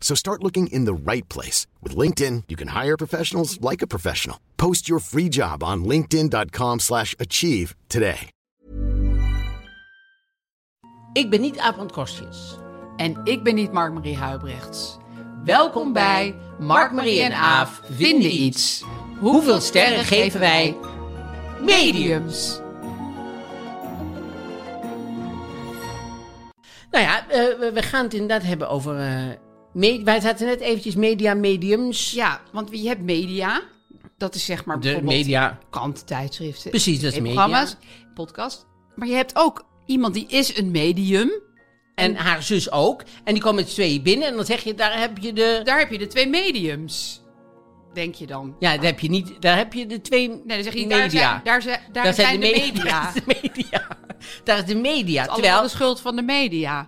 So start looking in the right place. With LinkedIn, you can hire professionals like a professional. Post your free job on linkedin.com slash achieve today. Ik ben niet Aaf van Kostjes. En ik ben niet Mark-Marie Huibrechts. Welkom bij Mark-Marie en Aaf vinden iets. Hoeveel sterren geven wij mediums? Nou ja, eh, we- we gaan het inderdaad hebben over... eh, me- wij zaten net eventjes media mediums. Ja, want je hebt media. Dat is zeg maar De bijvoorbeeld media. krant, tijdschriften. Precies, dat is media. programma's, podcast. Maar je hebt ook iemand die is een medium. En haar zus ook. En die kwam met z'n tweeën binnen en dan zeg je, daar heb je de... Daar heb je de twee mediums. Denk je dan? Ja, daar heb je niet... Daar heb je de twee Nee, dan zeg je niet, media. daar zijn, daar zijn, daar zijn, de, me- media. Daar is de media. Daar is de media. Allemaal Terwijl de schuld van de media.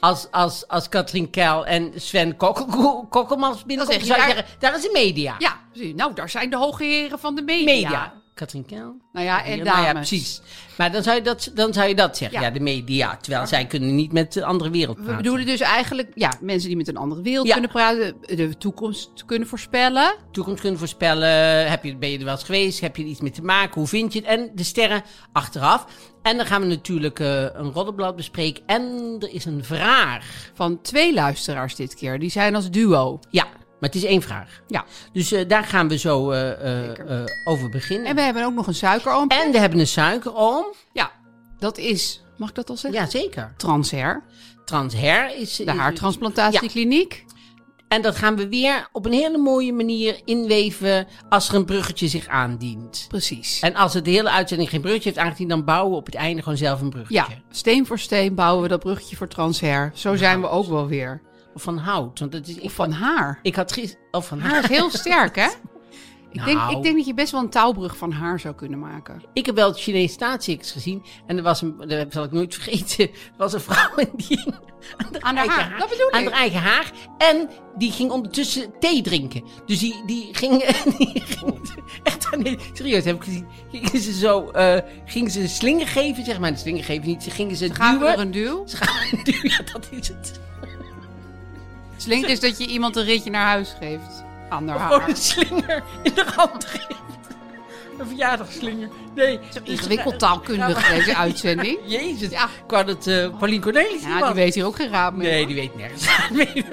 als, als, als Katrien Keil en Sven Kokkel- Kokkelmans binnenkomen, Dan zou zeg je, je daar- zeggen, daar is de media. Ja, precies. nou, daar zijn de hoge heren van de media. media. Katrien Keil. Nou ja, en Ja, dames. nou ja, precies. Maar dan zou je dat, dan zou je dat zeggen. Ja. Ja. de media. Terwijl zij kunnen niet met de andere wereld We praten. bedoelen dus eigenlijk ja, mensen die met een andere wereld Ja. kunnen praten, de toekomst kunnen voorspellen. toekomst kunnen voorspellen. Heb je, ben je er wel eens geweest? Heb je er iets mee te maken? Hoe vind je het? En de sterren achteraf. En dan gaan we natuurlijk eh, een roddelblad bespreken. En er is een vraag. Van twee luisteraars dit keer. Die zijn als duo. Ja, maar het is één vraag. Ja. Dus eh, daar gaan we zo eh, eh, eh, over beginnen. En we hebben ook nog een suikeroom. En we hebben een suikeroom. Ja, dat is, mag ik dat al zeggen? Jazeker. Transher, Transher is... de haartransplantatiekliniek. En dat gaan we weer op een hele mooie manier inweven als er een bruggetje zich aandient. Precies. En als het de hele uitzending geen bruggetje heeft aangediend, dan bouwen we op het einde gewoon zelf een bruggetje. ja, steen voor steen bouwen we dat bruggetje voor transher. Zo zijn we ook wel weer. Of van hout. Want dat is, Nou, ik, Of van haar. ik had gisteren. Of van Haar haar. is heel sterk, hè? Ik, denk, Nou. ik denk dat je best wel een touwbrug van haar zou kunnen maken. Ik heb wel het Chinees staatsziektes gezien. En er was een. Dat zal ik nooit vergeten. Er was een vrouw en die. ging Aan haar haar, dat bedoel aan ik. haar eigen haar. En die ging ondertussen thee drinken. Dus die, die ging. Die ging echt, nee, serieus, heb ik gezien. Gingen ze zo. eh gingen ze een slinger geven, zeg maar. De slinger geven niet. Ze gingen ze Gaan we duwen. er een duw? Ze gaan duwen. Ja, dat is het. Slinkt is dus dat je iemand een ritje naar huis geeft. Aan haar Gewoon een haar. slinger in de hand geeft. Een verjaardagsslinger. Nee. Zo ingewikkeld taalkundig deze uitzending. Jezus. Ja. Ik wou dat eh Pauline Cornelis Ja, die was. weet hier ook geen raad meer. Nee, die weet nergens. Nee,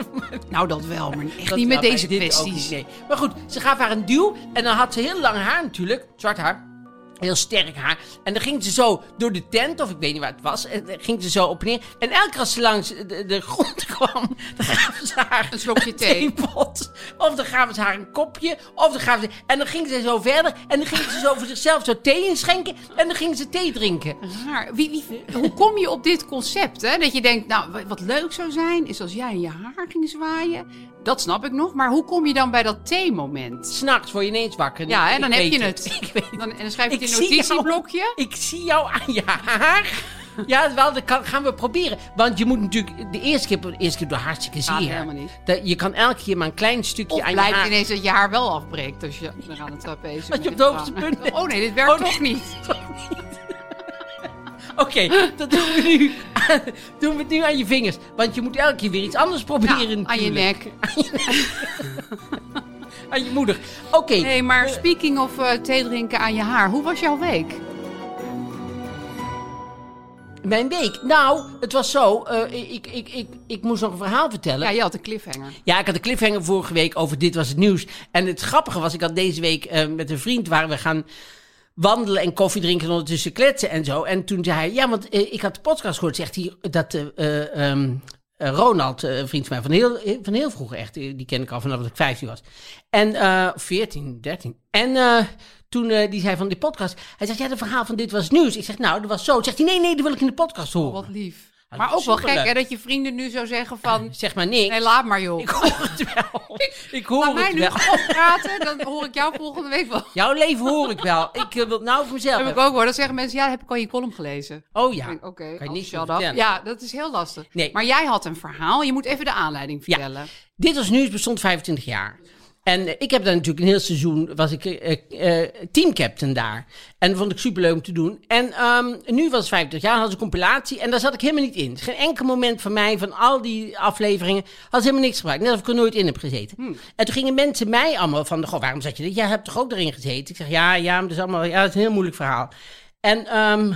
Nou, dat wel, maar echt dat niet met wel, deze maar dit ook kwesties. niet, nee. Maar goed, ze gaf haar een duw. En dan had ze heel lang haar natuurlijk. Zwart haar. Heel sterk haar. En dan ging ze zo door de tent, of ik weet niet waar het was. En dan ging ze zo op en neer. En elke keer als ze langs de, de grond kwam, dan gaven ze haar Een slokje thee. theepot. Of dan gaven ze haar een kopje. Of dan gaven ze... En dan ging ze zo verder. En dan ging ze zo voor zichzelf zo thee inschenken. En dan ging ze thee drinken. Raar. Wie, wie, hoe kom je op dit concept? Hè? Dat je denkt, nou, wa- wat leuk zou zijn, is als jij in je haar ging zwaaien. Dat snap ik nog, maar hoe kom je dan bij dat theemoment? S'nachts word je ineens wakker. Ja, hè, Ik dan heb weet je het. Ik weet Dan, en dan schrijf je Ik het in een zie jou. notitieblokje. Ik zie jou aan je haar. Ja, wel, dat kan- gaan we proberen. Want je moet natuurlijk de eerste keer, de eerste keer door hartstikke Gaat zeer. helemaal niet. Dat, je kan elke keer maar een klein stukje Of aan je blijkt haar... ineens dat je haar wel afbreekt als je dan aan het trapeze Als je bent. op het hoogste punt bent. Oh nee, dit werkt Oh, nee. toch niet. Oké, dat doen we, nu. doen we het nu aan je vingers. Want je moet elke keer weer iets anders Ja, proberen. Nou, aan je natuurlijk. nek. Aan je moeder. Oké, Nee, maar speaking of eh, thee drinken aan je haar, hoe was jouw week? mijn week. Nou, het was zo. eh, ik, ik, ik, ik moest nog een verhaal vertellen. Ja, je had een cliffhanger. Ja, ik had een cliffhanger vorige week over Dit Was Het Nieuws. En het grappige was, ik had deze week eh, met een vriend, waren we gaan wandelen en koffie drinken en ondertussen kletsen en zo. En toen zei hij, ja, want eh, ik had de podcast gehoord, zegt hij, dat eh, eh, ehm, eh, Ronald, eh, een vriend van mij, van heel, van heel vroeg echt, eh, die ken ik al vanaf dat ik 15 was. En eh 14, 13. En eh, toen eh, die zei van die podcast, hij zegt, ja, het verhaal van dit was nieuws. Ik zeg, nou, dat was zo. Zegt hij, nee, nee, dat wil ik in de podcast horen. Wat lief. Ja, maar ook wel superleuk. gek hè, dat je vrienden nu zou zeggen van... Zeg maar niks. Nee, laat maar joh. Ik hoor het wel. Ik hoor Laat mij het nu wel. gewoon praten, dan hoor ik jou volgende week wel. Jouw leven hoor ik wel. Ik eh, wil het nou voor mezelf. heb ik hebben. ook hoor. Dan zeggen mensen, ja, heb ik al je column gelezen. Oh ja. Ik denk, Oké, kan je oh, niks shut meer up. vertellen. Ja, dat is heel lastig. Nee. Maar jij had een verhaal. Je moet even de aanleiding Ja. vertellen. Dit was nieuws bestond 25 jaar. En eh, ik heb daar natuurlijk een heel seizoen, was ik eh, eh, teamcaptain daar. En dat vond ik superleuk om te doen. En ehm, nu was het 50 jaar, hadden ze een compilatie en daar zat ik helemaal niet in. Geen enkel moment van mij, van al die afleveringen, had ze helemaal niks gebruikt. Net of ik er nooit in heb gezeten. Hmm. En toen gingen mensen mij allemaal van, goh, waarom zat je er? Jij hebt toch ook erin gezeten? Ik zeg, ja, ja, maar dat is allemaal, ja, dat is een heel moeilijk verhaal. En ehm,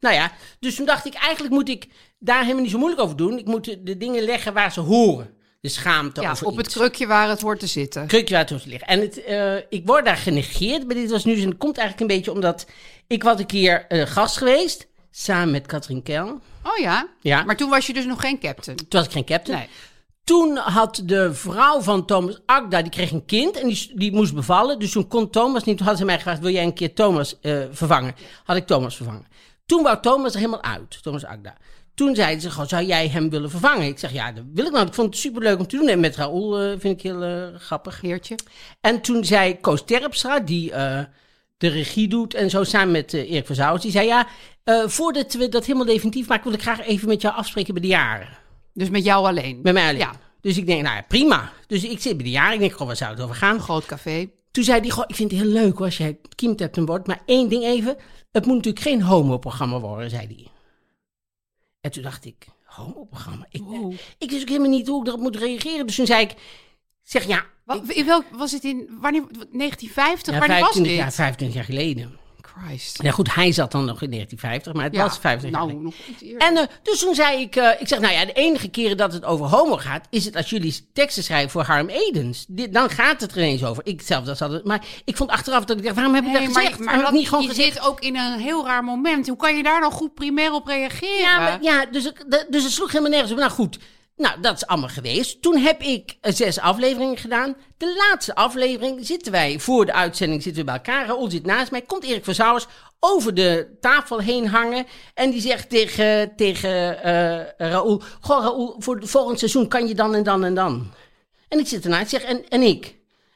nou ja, dus toen dacht ik, eigenlijk moet ik daar helemaal niet zo moeilijk over doen. Ik moet de, de dingen leggen waar ze horen. De schaamte Ja, over op het iets. krukje waar het hoort te zitten. krukje waar het hoort te liggen. En het, eh, ik word daar genegeerd bij dit was nu. En dat komt eigenlijk een beetje omdat ik was een keer eh, gast geweest. Samen met Katrien Kel. Toen Oh ja? Ja. Maar toen was je dus nog geen captain. was ik geen captain. Nee. Toen had de vrouw van Thomas Akda, die kreeg een kind en die, die moest bevallen. Dus toen kon Thomas niet. Toen had ze mij gevraagd, wil jij een keer Thomas eh, vervangen? Had ik Thomas vervangen. Toen wou Thomas er helemaal uit, Thomas Akda. Toen zeiden ze, goh, zou jij hem willen vervangen? Ik zeg, ja, dat wil ik wel. Ik vond het superleuk om te doen. En met Raoul eh, vind ik heel eh, grappig. Geertje. En toen zei Koos Terpstra, die eh, de regie doet en zo samen met eh, Erik van Zouwers, die zei ja, eh, voordat we dat helemaal definitief maken, wil ik graag even met jou afspreken bij de jaren. Dus met jou alleen. Bij mij alleen. Ja. Dus ik denk, nou ja, prima. Dus ik zit bij de jaren, ik denk, goh, waar zou het over gaan? Een groot café. Toen zei hij, goh, ik vind het heel leuk hoor, als jij kiemtapten wordt, maar één ding even, het moet natuurlijk geen homo-programma worden, zei hij. En toen dacht ik, homo-programma? Ik, eh, Wow. ik wist ook helemaal niet hoe ik daarop moet reageren. Dus toen zei ik, zeg ja, Wat, in welk, was het in... Wanneer, 1950? ja wanneer was 25 dit? jaar, 25 jaar geleden. Christ. Ja, goed, hij zat dan nog in 1950, maar het was 50 jaar Nou, geleden. nog iets eerder. En eh, dus toen zei ik, eh, ik zeg, nou ja, de enige keren dat het over homo gaat, is het als jullie teksten schrijven voor Harm Edens. Dit, dan gaat het er ineens over. Ik zelf, dat zat het. Maar ik vond achteraf dat ik dacht, waarom heb ik Nee, dat maar, gezegd? maar Waarom heb dat ik niet gewoon je gezegd? zit ook in een heel raar moment. Hoe kan je daar nou goed primair op reageren? Ja, maar, ja dus, ik- de- dus het sloeg helemaal nergens op. Nou goed, nou, dat is allemaal geweest. Toen heb ik eh, zes afleveringen gedaan. De laatste aflevering zitten wij voor de uitzending zitten we bij elkaar. Raoul zit naast mij. Komt Erik van Zouwers over de tafel heen hangen. En die zegt tegen, tegen eh Raoul... Goh, Raoul, voor het volgend seizoen kan je dan en dan en dan. En ik zit ernaast en zeg, en, en ik?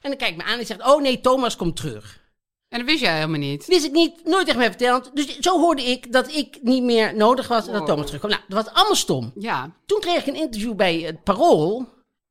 En dan kijkt me aan en zegt, oh nee, Thomas komt terug. En dat wist jij helemaal niet. Wist ik niet, nooit tegen mij verteld. Dus zo hoorde ik dat ik niet meer nodig was en dat Wow. Thomas terugkwam. Nou, dat was allemaal stom. Ja. Toen kreeg ik een interview bij het Parool.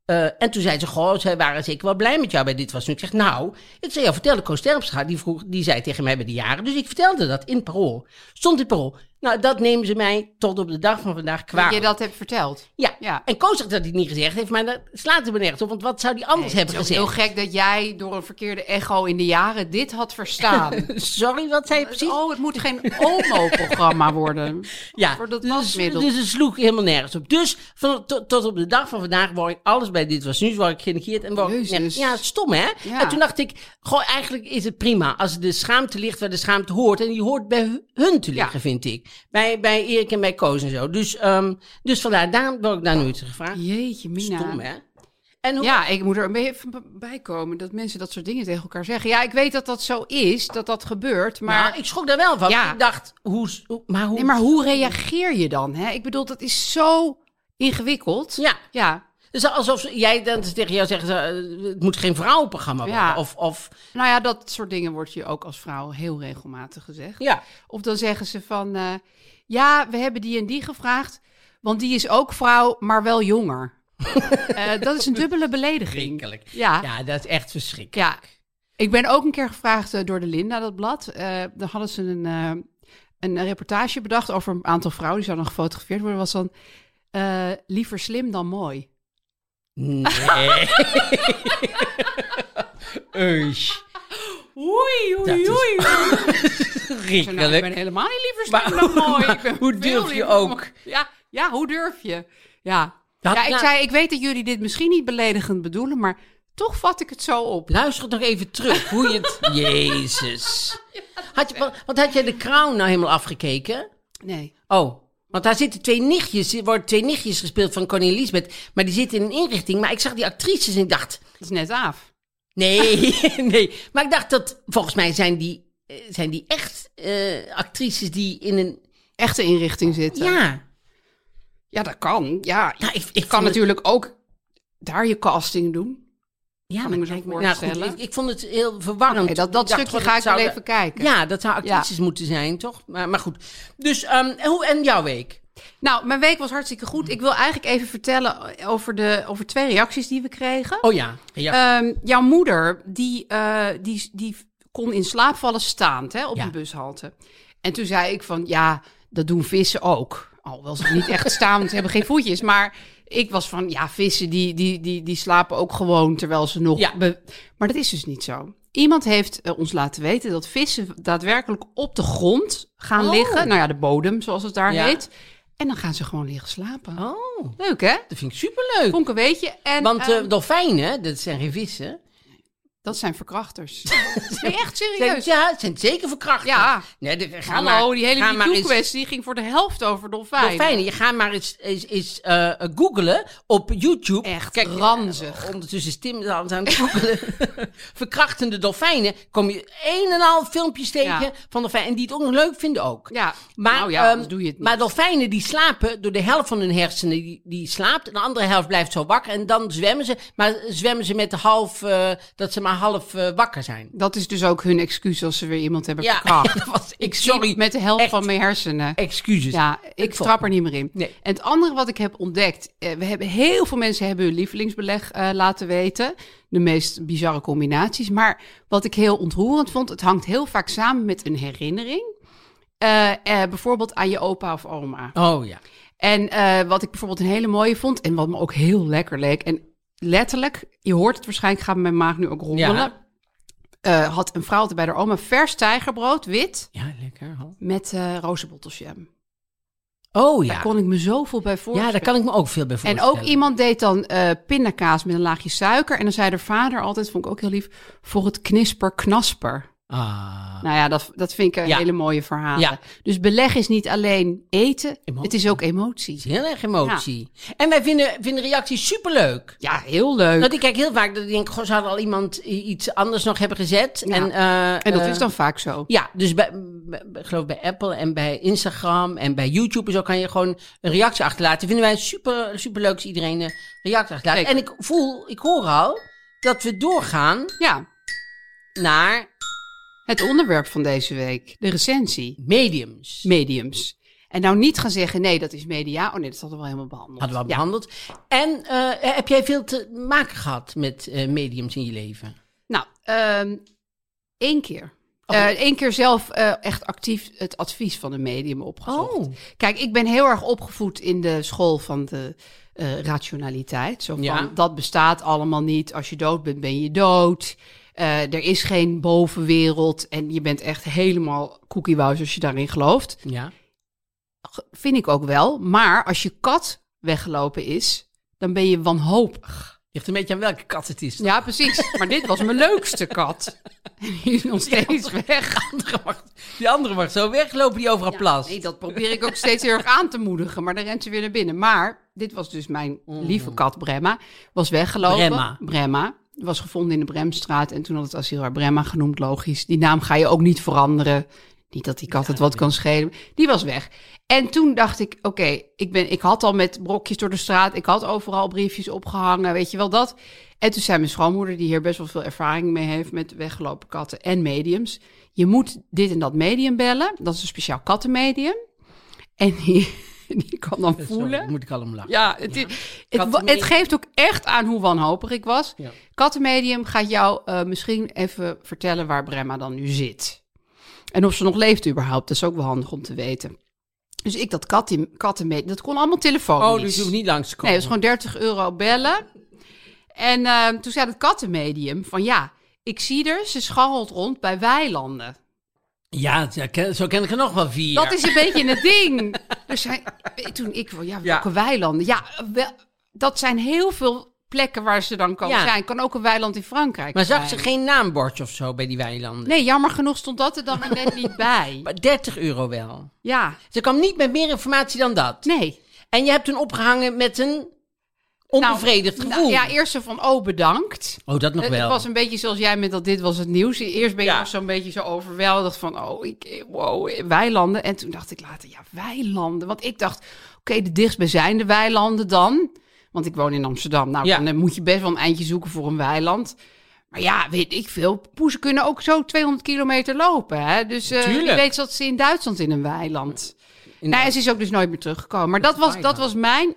eh, en toen zei ze, goh, zij waren zeker wel blij met jou bij Dit Was Nu. Ik zeg, nou, ik zei, ja, vertelde Koos Terpstra, die, vroeg, die zei tegen mij bij de jaren. Dus ik vertelde dat in het Parool. Stond in het Parool. Nou, dat nemen ze mij tot op de dag van vandaag Dat kwaad. je dat hebt verteld. Ja. Ja. en Koos zegt dat hij het niet gezegd heeft, maar dat slaat er me nergens op. Want wat zou die anders Nee, hebben het is ook gezegd? heel gek dat jij door een verkeerde echo in de jaren dit had verstaan. Sorry, wat zei je precies? oh, het moet geen homo-programma worden. Ja, Voor dat dus, wasmiddel. dus het sloeg helemaal nergens op. Dus van, tot, tot op de dag van vandaag word ik alles bij Dit Was Nieuws word ik genegeerd. En word ik Jezus. nergens- ja, stom hè? Ja. En toen dacht ik, goh, eigenlijk is het prima als de schaamte ligt waar de schaamte hoort. En die hoort bij hu- hun te liggen, Ja. vind ik. Bij, bij Erik en bij Koos en zo. Dus, ehm, dus vandaar, daarom word ik daar nu te gevraagd. Jeetje, Mina. Stom hè? En hoe, Ja, ik moet er een beetje van bij komen dat mensen dat soort dingen tegen elkaar zeggen. Ja, ik weet dat dat zo is, dat dat gebeurt, maar... maar Nou, ik schrok daar wel van. Ja. Ik dacht, hoe, hoe- maar hoe... Nee, maar hoe reageer je dan? Hè? Ik bedoel, dat is zo ingewikkeld. Ja. Ja. Dus alsof jij dan tegen jou zegt, eh, het moet geen vrouwenprogramma worden. Ja. Of, of, Nou ja, dat soort dingen wordt je ook als vrouw heel regelmatig gezegd. ja. Of dan zeggen ze van, eh, ja, we hebben die en die gevraagd, want die is ook vrouw, maar wel jonger. Eh, dat is een dubbele belediging. Verschrikkelijk. Ja. ja, dat is echt verschrikkelijk. Ja, ik ben ook een keer gevraagd eh, door de Linda, dat blad. Eh dan hadden ze een, eh, een reportage bedacht over een aantal vrouwen die zouden dan gefotografeerd worden. Was dan eh, liever slim dan mooi. Nee. Oei. Oei, Dat oei, is oei. Nou, ik Verschrikkelijk. ben helemaal niet liever slim Maar dan hoe- mooi. maar Ik ben hoe veel durf je liever dan ook? mooi. Ja, ja, hoe durf je? Ja. Dat- ja, ik ja. zei, ik weet dat jullie dit misschien niet beledigend bedoelen, maar Toch vat ik het zo op. Luister het nog even terug, hoe je het... Jezus. Had je, want had jij de crown nou helemaal afgekeken? Nee. Oh, want daar zitten twee nichtjes, er worden twee nichtjes gespeeld van Koningin Elisabeth. Maar die zitten in een inrichting. Maar ik zag die actrices en ik dacht, Dat is net af. nee, nee. Maar ik dacht dat, volgens mij zijn die, eh, zijn die echt eh, actrices die in een... Echte inrichting zitten. Ja, Ja, dat kan. Ja, Nou, ik, ik je vond kan het- natuurlijk ook daar je casting doen. Ja, Kan maar ik me zo kijk, voorstellen. Nou, goed, ik, ik vond het heel verwarrend. Oké, dat- dat Ik dacht stukje gewoon, ga ik wel zouden- even kijken. Ja, dat zou actrices moeten zijn, toch? Maar, maar goed. Dus, ehm, en, hoe, en jouw week? Nou, mijn week was hartstikke goed. Ik wil eigenlijk even vertellen over, de, over twee reacties die we kregen. Oh ja. ja. Ehm, jouw moeder, die, eh, die, die kon in slaap vallen staand hè, op Ja. een bushalte. En toen zei ik van, ja, dat doen vissen ook. Alhoewel ze niet echt staan, want ze hebben geen voetjes. Maar ik was van, ja, vissen die, die, die, die slapen ook gewoon terwijl ze nog... Ja. be- Maar dat is dus niet zo. Iemand heeft eh, ons laten weten dat vissen daadwerkelijk op de grond gaan Oh. liggen. Nou ja, de bodem, zoals het daar Ja. heet. En dan gaan ze gewoon liggen slapen. oh, Leuk, hè? dat vind ik superleuk. Vonken weet je. En, Want eh, ehm, dolfijnen, dat zijn geen vissen. dat zijn verkrachters. nee, echt Zijn, serieus. ja, het zijn zeker verkrachters. Ja. Nee, de, ga Hallo, maar, die hele ga maar eens- MeToo-kwestie ging voor de helft over dolfijnen. Dolfijnen, je gaat maar eens, eens, eens eh, googlen op YouTube. Echt ranzig. Ondertussen is Tim aan het googelen. Verkrachtende dolfijnen. Kom je een en al filmpjes tegen Ja. van dolfijnen. En die het ook nog leuk vinden ook. Ja, Maar, nou ja, anders ehm, doe je het niet. maar dolfijnen die slapen, door de helft van hun hersenen die, die slaapt. En de andere helft blijft zo wakker. En dan zwemmen ze. Maar zwemmen ze met de half, eh, dat ze maar half eh, wakker zijn. Dat is dus ook hun excuus als ze weer iemand hebben Ja, verkracht. dat was, ik, Ik sorry. sliep met de helft Echt. van mijn hersenen. Excuses. Ja, ik vond- trap er niet meer in. Nee. En het andere wat ik heb ontdekt, eh, we hebben heel veel mensen hebben hun lievelingsbeleg eh, laten weten, de meest bizarre combinaties. Maar wat ik heel ontroerend vond, het hangt heel vaak samen met een herinnering. Eh, eh, bijvoorbeeld aan je opa of oma. Oh ja. En eh, wat ik bijvoorbeeld een hele mooie vond en wat me ook heel lekker leek. En letterlijk, je hoort het waarschijnlijk, gaat mijn maag nu ook rommelen. Ja. Eh, had een vrouw bij haar oma vers tijgerbrood, wit, Ja, lekker. hoor. met eh rozenbotteljam. Oh ja. Daar kon ik me zoveel bij Ja, voorstellen. daar kan ik me ook veel bij En voorstellen. ook iemand deed dan eh, pindakaas met een laagje suiker. En dan zei haar vader altijd, vond ik ook heel lief, voor het knisper-knasper. Ah, Nou ja, dat, dat vind ik een Ja. hele mooie verhaal. Ja. Dus beleg is niet alleen eten, Emotie. het is ook emotie. heel erg emotie. En wij vinden, vinden reacties superleuk. Ja, heel leuk. Want ik kijk heel vaak dat ik denk, goh, zou er al iemand i- iets anders nog hebben gezet? Ja. En, eh, En dat eh, is dan vaak zo. Ja, dus bij, bij- ik geloof bij Apple en bij Instagram en bij YouTube en zo kan je gewoon een reactie achterlaten. Vinden wij super, super leuk als iedereen een reactie achterlaat. Zeker. En ik voel, ik hoor al, dat we doorgaan Ja, naar het onderwerp van deze week, de recensie, mediums. mediums. En nou niet gaan zeggen, nee, dat is media. Oh nee, dat hadden we al helemaal behandeld. Hadden we al Ja. behandeld. En eh, heb jij veel te maken gehad met eh, mediums in je leven? Nou, ehm, één keer. Oh. Eh, Eén keer zelf eh, echt actief het advies van een medium opgezocht. Oh. Kijk, ik ben heel erg opgevoed in de school van de eh, rationaliteit. Zo van, Ja. dat bestaat allemaal niet. Als je dood bent, ben je dood. Eh, er is geen bovenwereld. En je bent echt helemaal koekiewous als je daarin gelooft. Ja. G- Vind ik ook wel. Maar als je kat weggelopen is, dan ben je wanhopig. Ligt een beetje aan welke kat het is. Ja, precies. Maar dit was mijn leukste kat. En die is nog steeds weg. Die andere mag, die andere mag zo weglopen die overal plast. Nee, dat probeer ik ook steeds heel erg aan te moedigen. Maar dan rent ze weer naar binnen. Maar dit was dus mijn lieve kat Bremma. Was weggelopen. Bremma. Bremma. Was gevonden in de Bremstraat. En toen had het asiel haar Bremma genoemd, logisch. Die naam ga je ook niet veranderen. Niet dat die kat het wat kan schelen. Die was weg. En toen dacht ik, oké, ik, ben, ik had al met brokjes door de straat. Ik had overal briefjes opgehangen, weet je wel dat. En toen zei mijn schoonmoeder, die hier best wel veel ervaring mee heeft met weggelopen katten en mediums. Je moet dit en dat medium bellen. Dat is een speciaal kattenmedium. En die, die kan dan voelen. Sorry, moet ik al om lachen. Ja, het, is- het, wa- Kattenmedium. het geeft ook echt aan hoe wanhopig ik was. Ja. Kattenmedium gaat jou eh, misschien even vertellen waar Bremma dan nu zit. En of ze nog leeft überhaupt. Dat is ook wel handig om te weten. Dus ik dat katten, kattenmedium, dat kon allemaal telefonisch. Oh, dus je hoeft niet langs te Nee, komen. dat is gewoon 30 euro bellen. En eh, toen zei het kattenmedium van ja, ik zie er, ze scharrelt rond bij weilanden. Ja, zo ken- zo ken ik er nog wel vier. Dat is een beetje het ding. Dus hij, toen ik, ja, welke weilanden? Ja, wel, dat zijn heel veel plekken waar ze dan kan Ja. zijn. Kan ook een weiland in Frankrijk Maar zijn. zag ze geen naambordje of zo bij die weilanden? Nee, jammer genoeg stond dat er dan maar net niet bij. Maar 30 euro wel. Ja, Ze kwam niet met meer informatie dan dat. nee. En je hebt hun opgehangen met een onbevredigd Nou, gevoel. ja, eerst zo van, oh, bedankt. Oh, dat nog Het, het wel. was een beetje zoals jij met dat dit was het nieuws. Eerst ben je Ja. nog zo'n beetje zo overweldigd van, oh, ik, wow, weilanden. En toen dacht ik later, ja, weilanden. Want ik dacht, oké, de dichtstbijzijnde weilanden dan. Want ik woon in Amsterdam. Nou, Ja. dan eh, moet je best wel een eindje zoeken voor een weiland. Maar ja, weet ik veel. Poezen kunnen ook zo 200 kilometer lopen. Hè? Dus eh wie Tuurlijk. weet zat ze in Duitsland in een weiland. In- Nou, en ze is ook dus nooit meer teruggekomen. Maar dat was, dat weiland. was mijn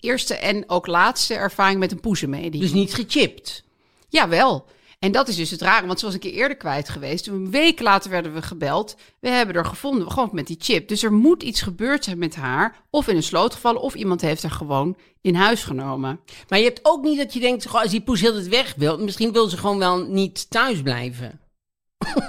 eerste en ook laatste ervaring met een poezenmedie. Dus niet gechipt. Jawel. En dat is dus het rare, want ze was een keer eerder kwijt geweest. Toen een week later werden we gebeld. We hebben er gevonden, gewoon met die chip. Dus er moet iets gebeurd zijn met haar. Of in een sloot gevallen, of iemand heeft haar gewoon in huis genomen. Maar je hebt ook niet dat je denkt, goh, als die poes heel het weg wil, misschien wil ze gewoon wel niet thuis blijven.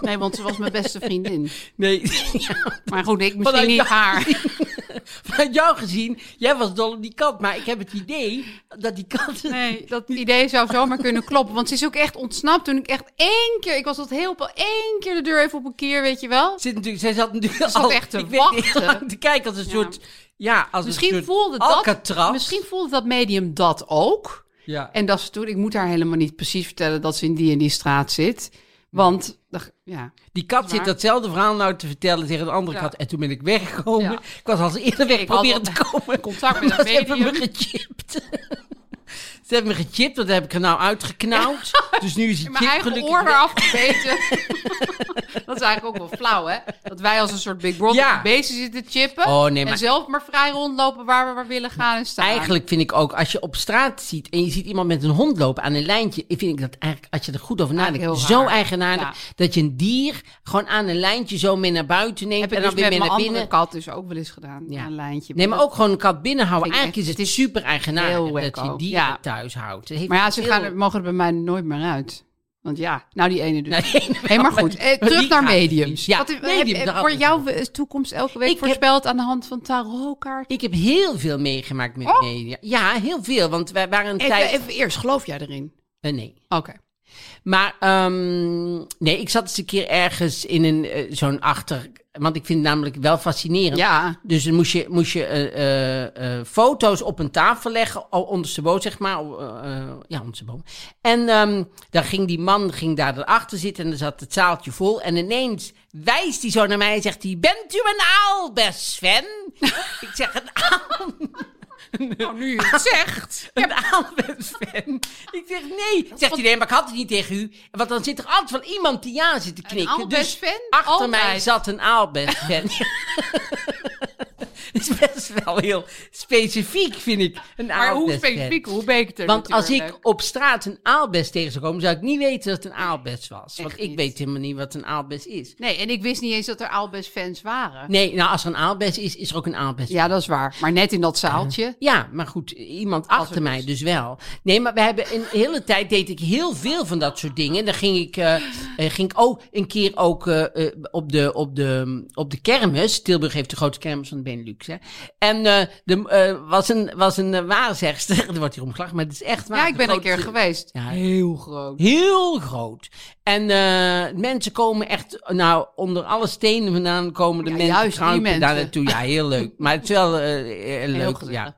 Nee, want ze was mijn beste vriendin. Nee, ja, Maar goed, ik misschien Vanuit niet jou- haar. vanuit jou gezien, jij was dol op die kat, maar ik heb het idee dat die kat... Nee, dat idee zou zomaar kunnen kloppen. Want ze is ook echt ontsnapt toen ik echt één keer... Ik was dat heel... één keer de deur even op een keer, weet je wel. Zit natuurlijk, zij zat natuurlijk zat al echt te ik weet niet, wachten. heel lang te kijken als een soort... Ja, als een Misschien soort voelde, dat, Alcatraz. misschien voelde dat medium dat ook. Ja. En dat ze toen, ik moet haar helemaal niet precies vertellen dat ze in die en die straat zit. Want, dag- ja. Die kat zit waar. datzelfde verhaal nou te vertellen tegen een andere Ja. kat. En toen ben ik weggekomen. Ja. Ik was als eerder weg Ik had proberen al- te komen. contact met Maar een Ze hebben me medium. gechipt. Ze hebben me gechipt, dat heb ik er nou uitgeknauwd. Dus nu is het Mijn chip eigen gelukkig oor weg. weer afgebeten. dat is eigenlijk ook wel flauw, hè? Dat wij als een soort Big Brother Ja. op de beesten zitten chippen. Oh, nee, maar- En zelf maar vrij rondlopen waar we maar willen gaan en staan. Eigenlijk vind ik ook, als je op straat ziet en je ziet iemand met een hond lopen aan een lijntje, vind ik dat eigenlijk, als je er goed over Eigenlijk nadenkt, heel zo raar. eigenaardig. Ja. Dat je een dier gewoon aan een lijntje zo mee naar buiten neemt heb en ik dan dus weer met mee mijn naar andere binnen. kat dus ook wel eens gedaan. Ja. Ja. Een lijntje. Nee, maar dat- ook gewoon een kat binnenhouden. Vind ik Eigenlijk is echt- het super heel eigenaardig dat je wacko. dieren Ja. thuis houdt. Het heeft Maar ja, ze veel- gaan er, mogen er bij mij nooit meer uit. Want ja, nou die ene dus. Nee, Hé, maar goed, eh, Maar terug die naar gaat mediums. niet. Ja, Wat, heb- medium, heb- daar had wordt ik jouw eh, toekomst elke week Ik heb- voorspeld aan de hand van tarotkaarten? Ik heb heel veel meegemaakt met media. Ja, heel veel. Want wij waren een Oh. Even, tijd... even eerst, geloof jij erin? Eh, nee. Oké. Maar ehm, nee, ik zat eens een keer ergens in een eh, zo'n achter... Want ik vind het namelijk wel fascinerend. Ja. Dus dan moest je, moest je eh, eh, eh, foto's op een tafel leggen, o- ondersteboven zeg maar. o- eh, eh, ja, ondersteboven. En ehm dan ging die man ging daar erachter zitten en dan zat het zaaltje vol. En ineens wijst hij zo naar mij en zegt hij, bent u een aal, best Sven? ik zeg, een aal? Nou, nu je het zegt. Een aal, best Sven? Ik zeg, nee. Zegt hij, nee, maar ik had het niet tegen u. Want dan zit er altijd wel iemand die ja zit te knikken. aalbest Dus Sven? achter mij Altijd. zat een aalbest Sven. Het is best wel heel specifiek, vind ik. Een Maar hoe aalbest specifiek, fan. hoe beter Want als ik op straat een aalbest tegen zou komen, zou ik niet weten dat het een aalbest was. Want Echt ik niet. weet helemaal niet wat een aalbest is. Nee, en ik wist niet eens dat er Albest fans waren. Nee, nou, als er een aalbest is, is er ook een aalbest. Ja, dat is waar. Maar net in dat zaaltje. Ja, maar goed, iemand Als achter het mij is. dus wel. Nee, maar we hebben een hele tijd deed ik heel veel van dat soort dingen. Dan ging ik, eh, eh, ging ik ook een keer ook eh, eh, op, de, op, de, op de kermis. Tilburg heeft de grote kermis van de Benelux. Hè? En eh er eh, was een, was een eh, waarzegster. Er wordt hier omgelachen, maar het is echt waar. Ja, ik De ben er een grote- keer geweest. Ja. Heel groot. Heel groot. En eh, mensen komen echt, nou, onder alle stenen vandaan komen de Ja, mensen. juist die kruipen mensen. daar naartoe. Ja, heel leuk. Maar het is wel eh, eh, leuk. gezellig. Ja.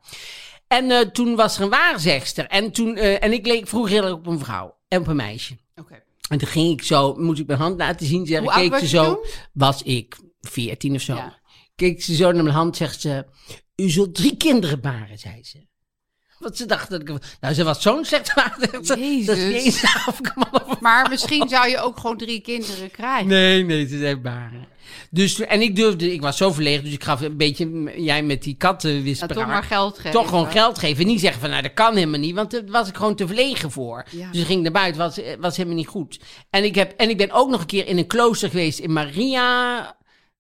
En eh, toen was er een waarzegster. En, toen, eh, en ik leek vroeg heel erg op een vrouw en op een meisje. Oké. En toen ging ik zo, moest ik mijn hand laten zien. Zeg, Hoe ik oud keek was ze je zo, toen? was ik 14 of zo. Ja. Keek ze zo naar mijn hand, zegt ze: U zult drie kinderen baren, zei ze. Want ze dacht dat ik. Nou, ze was zo'n slecht waarzegster. Dat ze Jezus. niet eens afkwam of Maar misschien zou je ook gewoon drie kinderen krijgen. Nee, nee, ze zijn baren. Dus, en ik durfde, ik was zo verlegen, dus ik gaf een beetje, m- jij met die Ja, kattenwisper. toch maar geld geven. Toch gewoon geld geven. En niet zeggen van, nou dat kan helemaal niet, want daar was ik gewoon te verlegen voor. Ja. Dus ik ging naar buiten, was, eh, was helemaal niet goed. En ik, heb, en ik ben ook nog een keer in een klooster geweest in Maria...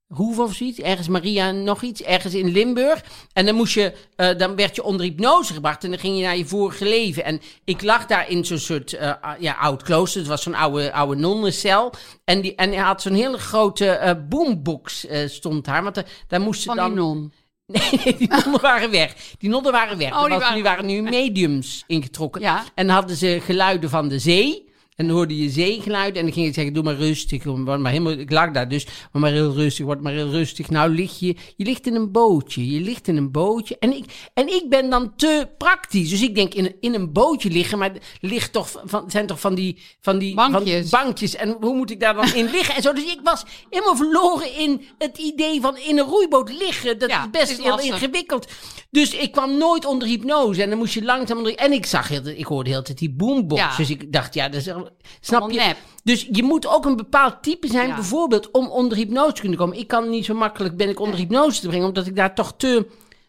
Hoeve of zoiets, ergens Maria nog iets, ergens in Limburg. En dan, moest je, eh, dan werd je onder hypnose gebracht en dan ging je naar je vorige leven. En ik lag daar in zo'n soort eh, ah, ja, oud klooster, het was zo'n oude, oude nonnencel. En, die, en hij had zo'n hele grote eh boombox eh, stond daar, want er- daar moesten Van dan... die non. Nee, nee, die nonnen waren weg. Die nonnen waren weg. Oh, die Want waren- die waren nu mediums ingetrokken. Ja. En hadden ze geluiden van de zee. En dan hoorde je zeegeluiden. En dan ging ik zeggen, doe maar rustig. Word maar helemaal, ik lag daar dus. Word maar heel rustig, word maar heel rustig. Nou lig je, je ligt in een bootje. Je ligt in een bootje. En ik, en ik ben dan te praktisch. Dus ik denk, in, in een bootje liggen. Maar er ligt toch van, zijn toch van die, van die van Bankjes. bankjes. En hoe moet ik daar dan in liggen? En zo. Dus ik was helemaal verloren in het idee van in een roeiboot liggen. Dat Ja, is best is heel lastig. ingewikkeld. Dus ik kwam nooit onder hypnose. En dan moest je langzaam onder... En ik zag heel, ik hoorde heel de tijd die boombox. Ja. Dus ik dacht, ja, dat is... al- Snap je? Allemaal nep. Dus je moet ook een bepaald type zijn, Ja. bijvoorbeeld, om onder hypnose te kunnen komen. Ik kan niet zo makkelijk, ben ik onder hypnose te brengen, omdat ik daar toch te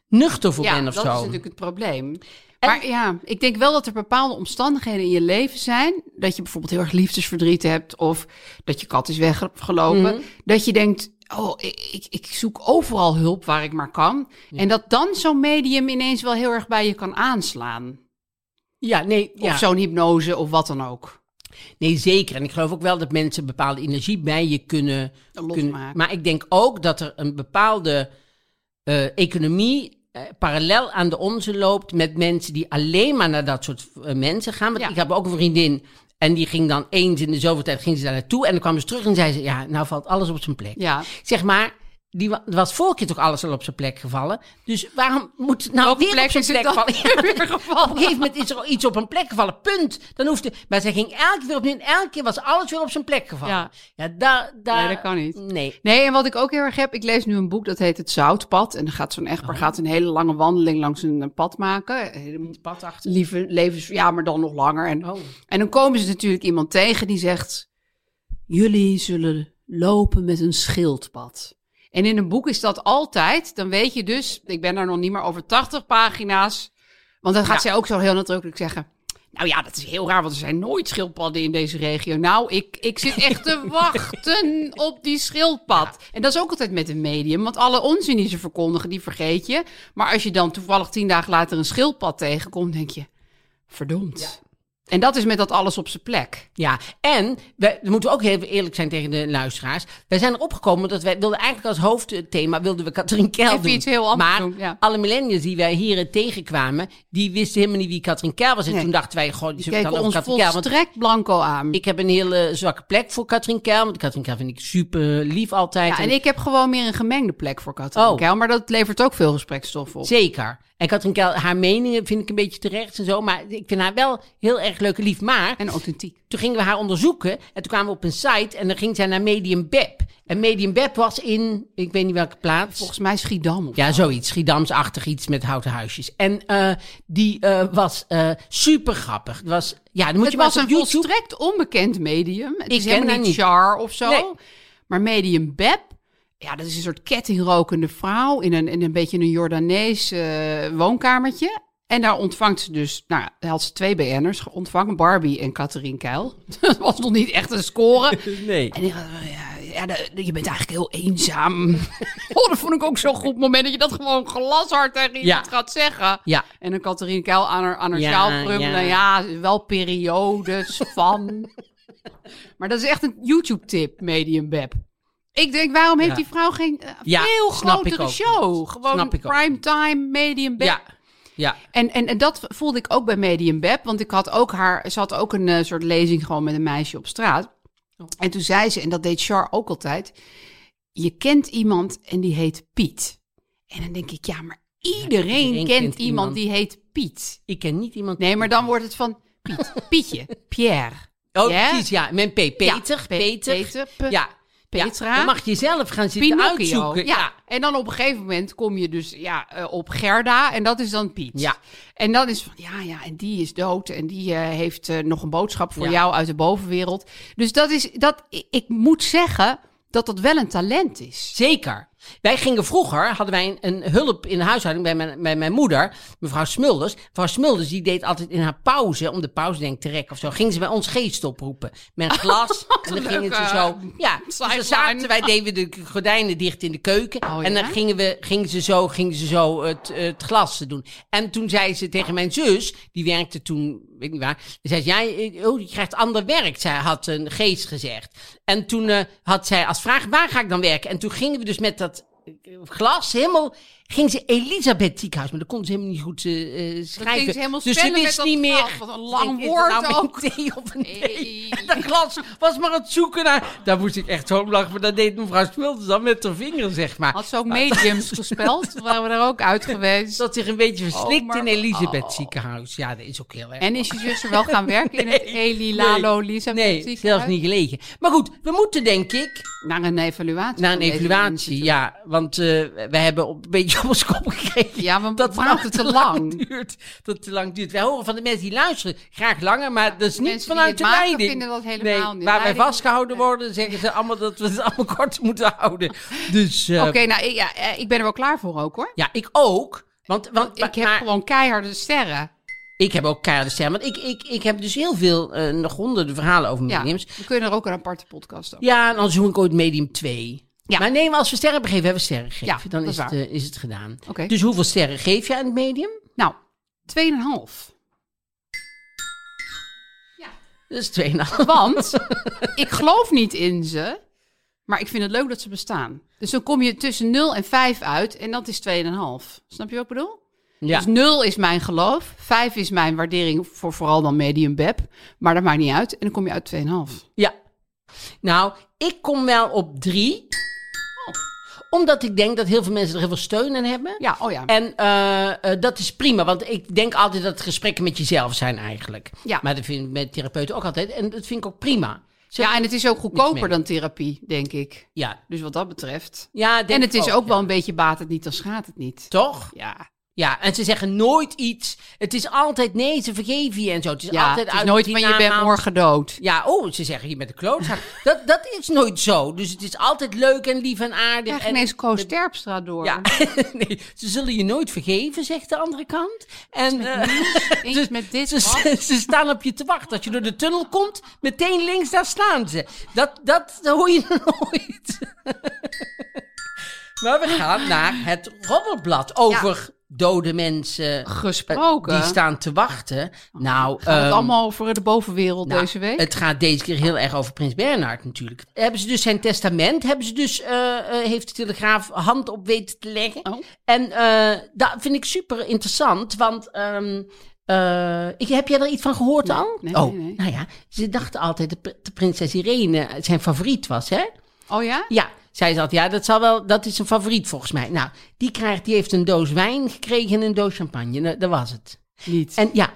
nuchter voor Ja, ben of dat zo. is natuurlijk het probleem. Maar ja, ik denk wel dat er bepaalde omstandigheden in je leven zijn. Dat je bijvoorbeeld heel erg liefdesverdriet hebt. Of dat je kat is weggelopen. Mhm. Dat je denkt, oh, ik, ik- ik zoek overal hulp waar ik maar kan. En dat dan zo'n medium ineens wel heel erg bij je kan aanslaan. Ja, nee, ja. Of zo'n hypnose of wat dan ook. Nee, zeker. En ik geloof ook wel dat mensen bepaalde energie bij je kunnen Losmaken. kunnen- Maar ik denk ook dat er een bepaalde eh, economie eh, parallel aan de onze loopt met mensen die alleen maar naar dat soort eh, mensen gaan. Want Ja. ik heb ook een vriendin en die ging dan eens in de zoveel tijd ging ze daar naartoe en dan kwam ze terug en zei ze, ja, nou valt alles op zijn plek. Ja. Zeg maar, die wa- was vorige keer toch alles al op zijn plek gevallen. Dus waarom moet het nou Welke weer plek op zijn is het plek dan vallen? Ja, weer gevallen? Op een gegeven moment is er iets op een plek gevallen, punt. Dan hoefde, maar zij ging elke keer weer opnieuw en elke keer was alles weer op zijn plek gevallen. Ja, Ja. daar, daar, Nee, dat kan niet. Nee. Nee, en wat ik ook heel erg heb, ik lees nu een boek dat heet Het Zoutpad. En dan gaat zo'n echtpaar Oh. gaat een hele lange wandeling langs een eh, pad maken. Eh, dan moet- Pad achter. Lieve levens, ja, maar dan nog langer. En, Oh. en dan komen ze natuurlijk iemand tegen die zegt: Jullie zullen lopen met een schildpad. En in een boek is dat altijd, dan weet je dus, ik ben daar nog niet meer over 80 pagina's. Want dan gaat zij ook zo heel nadrukkelijk zeggen. Nou ja, dat is heel raar, want er zijn nooit schildpadden in deze regio. Nou, ik, ik zit echt te wachten op die schildpad. En dat is ook altijd met een medium, want alle onzin die ze verkondigen, die vergeet je. Maar als je dan toevallig tien dagen later een schildpad tegenkomt, denk je, verdomd. En dat is met dat alles op zijn plek. Ja, en we moeten we ook heel eerlijk zijn tegen de luisteraars. Wij zijn erop gekomen dat wij wilden eigenlijk als hoofdthema wilden we Katrien Kel Even doen. iets heel anders maar doen, ja. alle millennials die wij hier tegenkwamen, die wisten helemaal niet wie Katrien Kel was. En Nee. toen dachten wij, goh, die Die zullen het keken dan over Katrien ons Kel. Want volstrekt blanco aan. ik heb een hele eh, zwakke plek voor Katrien Kel. Want Katrien Kel vind ik super lief altijd. ja, En- en ik heb gewoon meer een gemengde plek voor Katrien Oh. Keil, maar dat levert ook veel gesprekstof op. Zeker. En Katrien Kel, haar meningen vind ik een beetje terecht en zo. Maar ik vind haar wel heel erg leuk en lief. Maar En authentiek. toen gingen we haar onderzoeken. En toen kwamen we op een site en dan ging zij naar Medium Beb. En Medium Beb was in, ik weet niet welke plaats. Volgens mij Schiedam. Of Ja, zoiets. Schiedamsachtig iets met houten huisjes. En eh, die eh, was eh, super grappig. Het was, ja, dan moet het je maar was eens op een YouTube. volstrekt onbekend medium. Het is ken helemaal haar niet niet. char of zo. Nee. Maar medium Beb, ja, dat is een soort kettingrokende vrouw in een, in een beetje een Jordanees eh, woonkamertje. En daar ontvangt ze dus, nou, ja, daar had ze twee BN'ers ontvangen, Barbie en Catherine Keil. Dat was nog niet echt een score. Nee. En ik dacht, ja, ja, de- de- je bent eigenlijk heel eenzaam. Oh, dat vond ik ook zo'n goed moment dat je dat gewoon glashard tegen iemand Ja. gaat zeggen. Ja. En dan Catherine Keil aan haar, aan haar Ja, sjaal prummelen. ja. Ja. wel periodes van. Maar dat is echt een YouTube-tip, Medium Beb. Ik denk, waarom heeft Ja. die vrouw geen eh, Ja, veel snap ik grotere ook show? niet. Gewoon Snap ik ook primetime Medium Beb. Ja. Ja. En, en, en dat voelde ik ook bij Medium Beb. Want ik had ook haar, ze had ook een eh, soort lezing gewoon met een meisje op straat. En toen zei ze, en dat deed Char ook altijd. Je kent iemand en die heet Piet. En dan denk ik, ja, maar iedereen, iedereen kent, kent iemand, iemand. die heet Piet. Ik ken niet iemand. Nee, maar dan wordt het van Piet, Pietje, Pierre. Oh, Ja? precies. Ja, mijn P. Peter. Ja, Peter. Pe- Peter, Pe- ja. Petra. Ja, dan mag je zelf gaan zitten Pinocchio. uitzoeken. Ja. En dan op een gegeven moment kom je dus ja, eh, op Gerda en dat is dan Piet. Ja. En dan is van, ja, ja, en die is dood en die eh, heeft eh, nog een boodschap voor Ja. jou uit de bovenwereld. Dus dat is, dat, ik, ik moet zeggen dat dat wel een talent is. Zeker. Wij gingen vroeger, hadden wij een, een hulp in de huishouding bij mijn, bij mijn moeder, mevrouw Smulders. Mevrouw Smulders die deed altijd in haar pauze, om de pauze denk ik te rekken of zo, ging ze bij ons geest oproepen. Met een glas en dan gingen ze leuke zo... Ja, dus dan sideline. zaten wij, deden we de gordijnen dicht in de keuken. Oh, En dan ja? gingen, we, gingen ze zo, gingen ze zo het, het glas doen. En toen zei ze tegen mijn zus, die werkte toen, weet ik niet waar, zei ze, jij, eh, oh, je krijgt ander werk. Zij had een geest gezegd. En toen eh, had zij als vraag, waar ga ik dan werken? En toen gingen we dus met dat glas. Helemaal ging ze Elisabeth ziekenhuis. Maar dat kon ze helemaal niet goed eh, eh, schrijven. ze helemaal dus ze spellen met wist dat niet meer. glas. Wat een lang Is het nou woord met ook. een T of een T? Nee. En dat glas was maar aan het zoeken naar... Daar moest ik echt zo om lachen. Maar dat deed mevrouw Spilters dan met haar vinger, zeg maar. Had ze ook mediums gespeld? Waren we daar ook uit geweest? Dat zich een beetje verslikt Oh, maar- in Elisabeth oh. ziekenhuis. Ja, dat is ook heel erg. En is je zus er wel gaan werken in het Eli Lalo Lisa Nee, zelfs niet gelegen. Maar goed, we moeten denk ik Naar een evaluatie. naar een van deze evaluatie. mensen. Ja, want eh, we hebben op, een beetje op ons kop gekregen. Ja, want we dat praten nou te lang. duurt. Dat het te lang duurt. Wij horen van de mensen die luisteren graag langer, maar dat is niet mensen die vanuit het de maken leiding. vinden dat helemaal nee, niet. Waar wij Leiding- vastgehouden worden, zeggen ze allemaal dat we het allemaal kort moeten houden. Dus eh, Oké, nou ik- ja, eh, ik ben er wel klaar voor ook hoor. ja, ik ook. Want, want Ik heb maar- gewoon keiharde sterren. Ik heb ook keiharde stem. Want ik, ik, ik heb dus heel veel, eh, nog honderden verhalen over Ja, mediums. we kunnen er ook een aparte podcast over. Ja, en dan zoek ik ooit medium 2. Ja. Maar nee, maar als we sterren gegeven, hebben we sterren gegeven. Ja, dan dat is is het, waar. eh, is het gedaan. Oké. Dus hoeveel sterren geef je aan het medium? Nou, 2,5. Dat is 2,5. Want ik geloof niet in ze, maar ik vind het leuk dat ze bestaan. Dus dan kom je tussen 0 en 5 uit en dat is 2,5. Snap je wat ik bedoel? Ja. Dus 0 is mijn geloof, 5 is mijn waardering voor vooral dan medium beb. Maar dat maakt niet uit. En dan kom je uit 2,5. ja. Nou, ik kom wel op 3. Oh. Omdat ik denk dat heel veel mensen er heel veel steun aan hebben. Ja, oh ja. En eh, eh, dat is prima, want ik denk altijd dat het gesprekken met jezelf zijn eigenlijk. Ja. Maar dat vind ik met therapeuten ook altijd. En dat vind ik ook prima. Ze- ja, en het is ook Niks meer. goedkoper dan therapie, denk ik. ja. Dus wat dat betreft. Ja, denk En het ik is ook wel ja. een beetje baat het niet, dan schaadt het niet. Toch? Ja, Ja, en ze zeggen nooit iets. Het is altijd nee, ze vergeven je en zo. Het is ja altijd het is uit nooit die van je bent namaals. morgen dood. Ja, oh, ze zeggen je bent een klootzak. dat, dat is nooit zo. Dus het is altijd leuk en lief en aardig. Krijg en, ineens Koos Terpstra door. ja, nee, ze zullen je nooit vergeven, zegt de andere kant. En eh, Eens met dit. ze, wat? ze, ze staan op je te wachten. Als je door de tunnel komt, meteen links, daar staan ze. Dat, dat hoor je nooit. maar we gaan naar het roddelblad over dode mensen. eh, Gesproken. Oh, Die staan te wachten. Nou, Gaat het ehm, allemaal over de bovenwereld nou, deze week? Het gaat deze keer heel erg over Prins Bernhard natuurlijk. Hebben ze dus zijn testament, hebben ze dus, eh, eh, heeft de Telegraaf hand op weten te leggen. Oh. En eh, dat vind ik super interessant, want ehm, eh, ik, heb jij er iets van gehoord al? nee, oh, nee, nee. nou ja, ze dachten altijd dat pr- de prinses Irene zijn favoriet was, hè? Oh ja? Ja, zij zat, ja, dat, zal wel, dat is een favoriet volgens mij. Nou, die, krijgt, die heeft een doos wijn gekregen en een doos champagne. Nou, dat was het. Niet. En ja.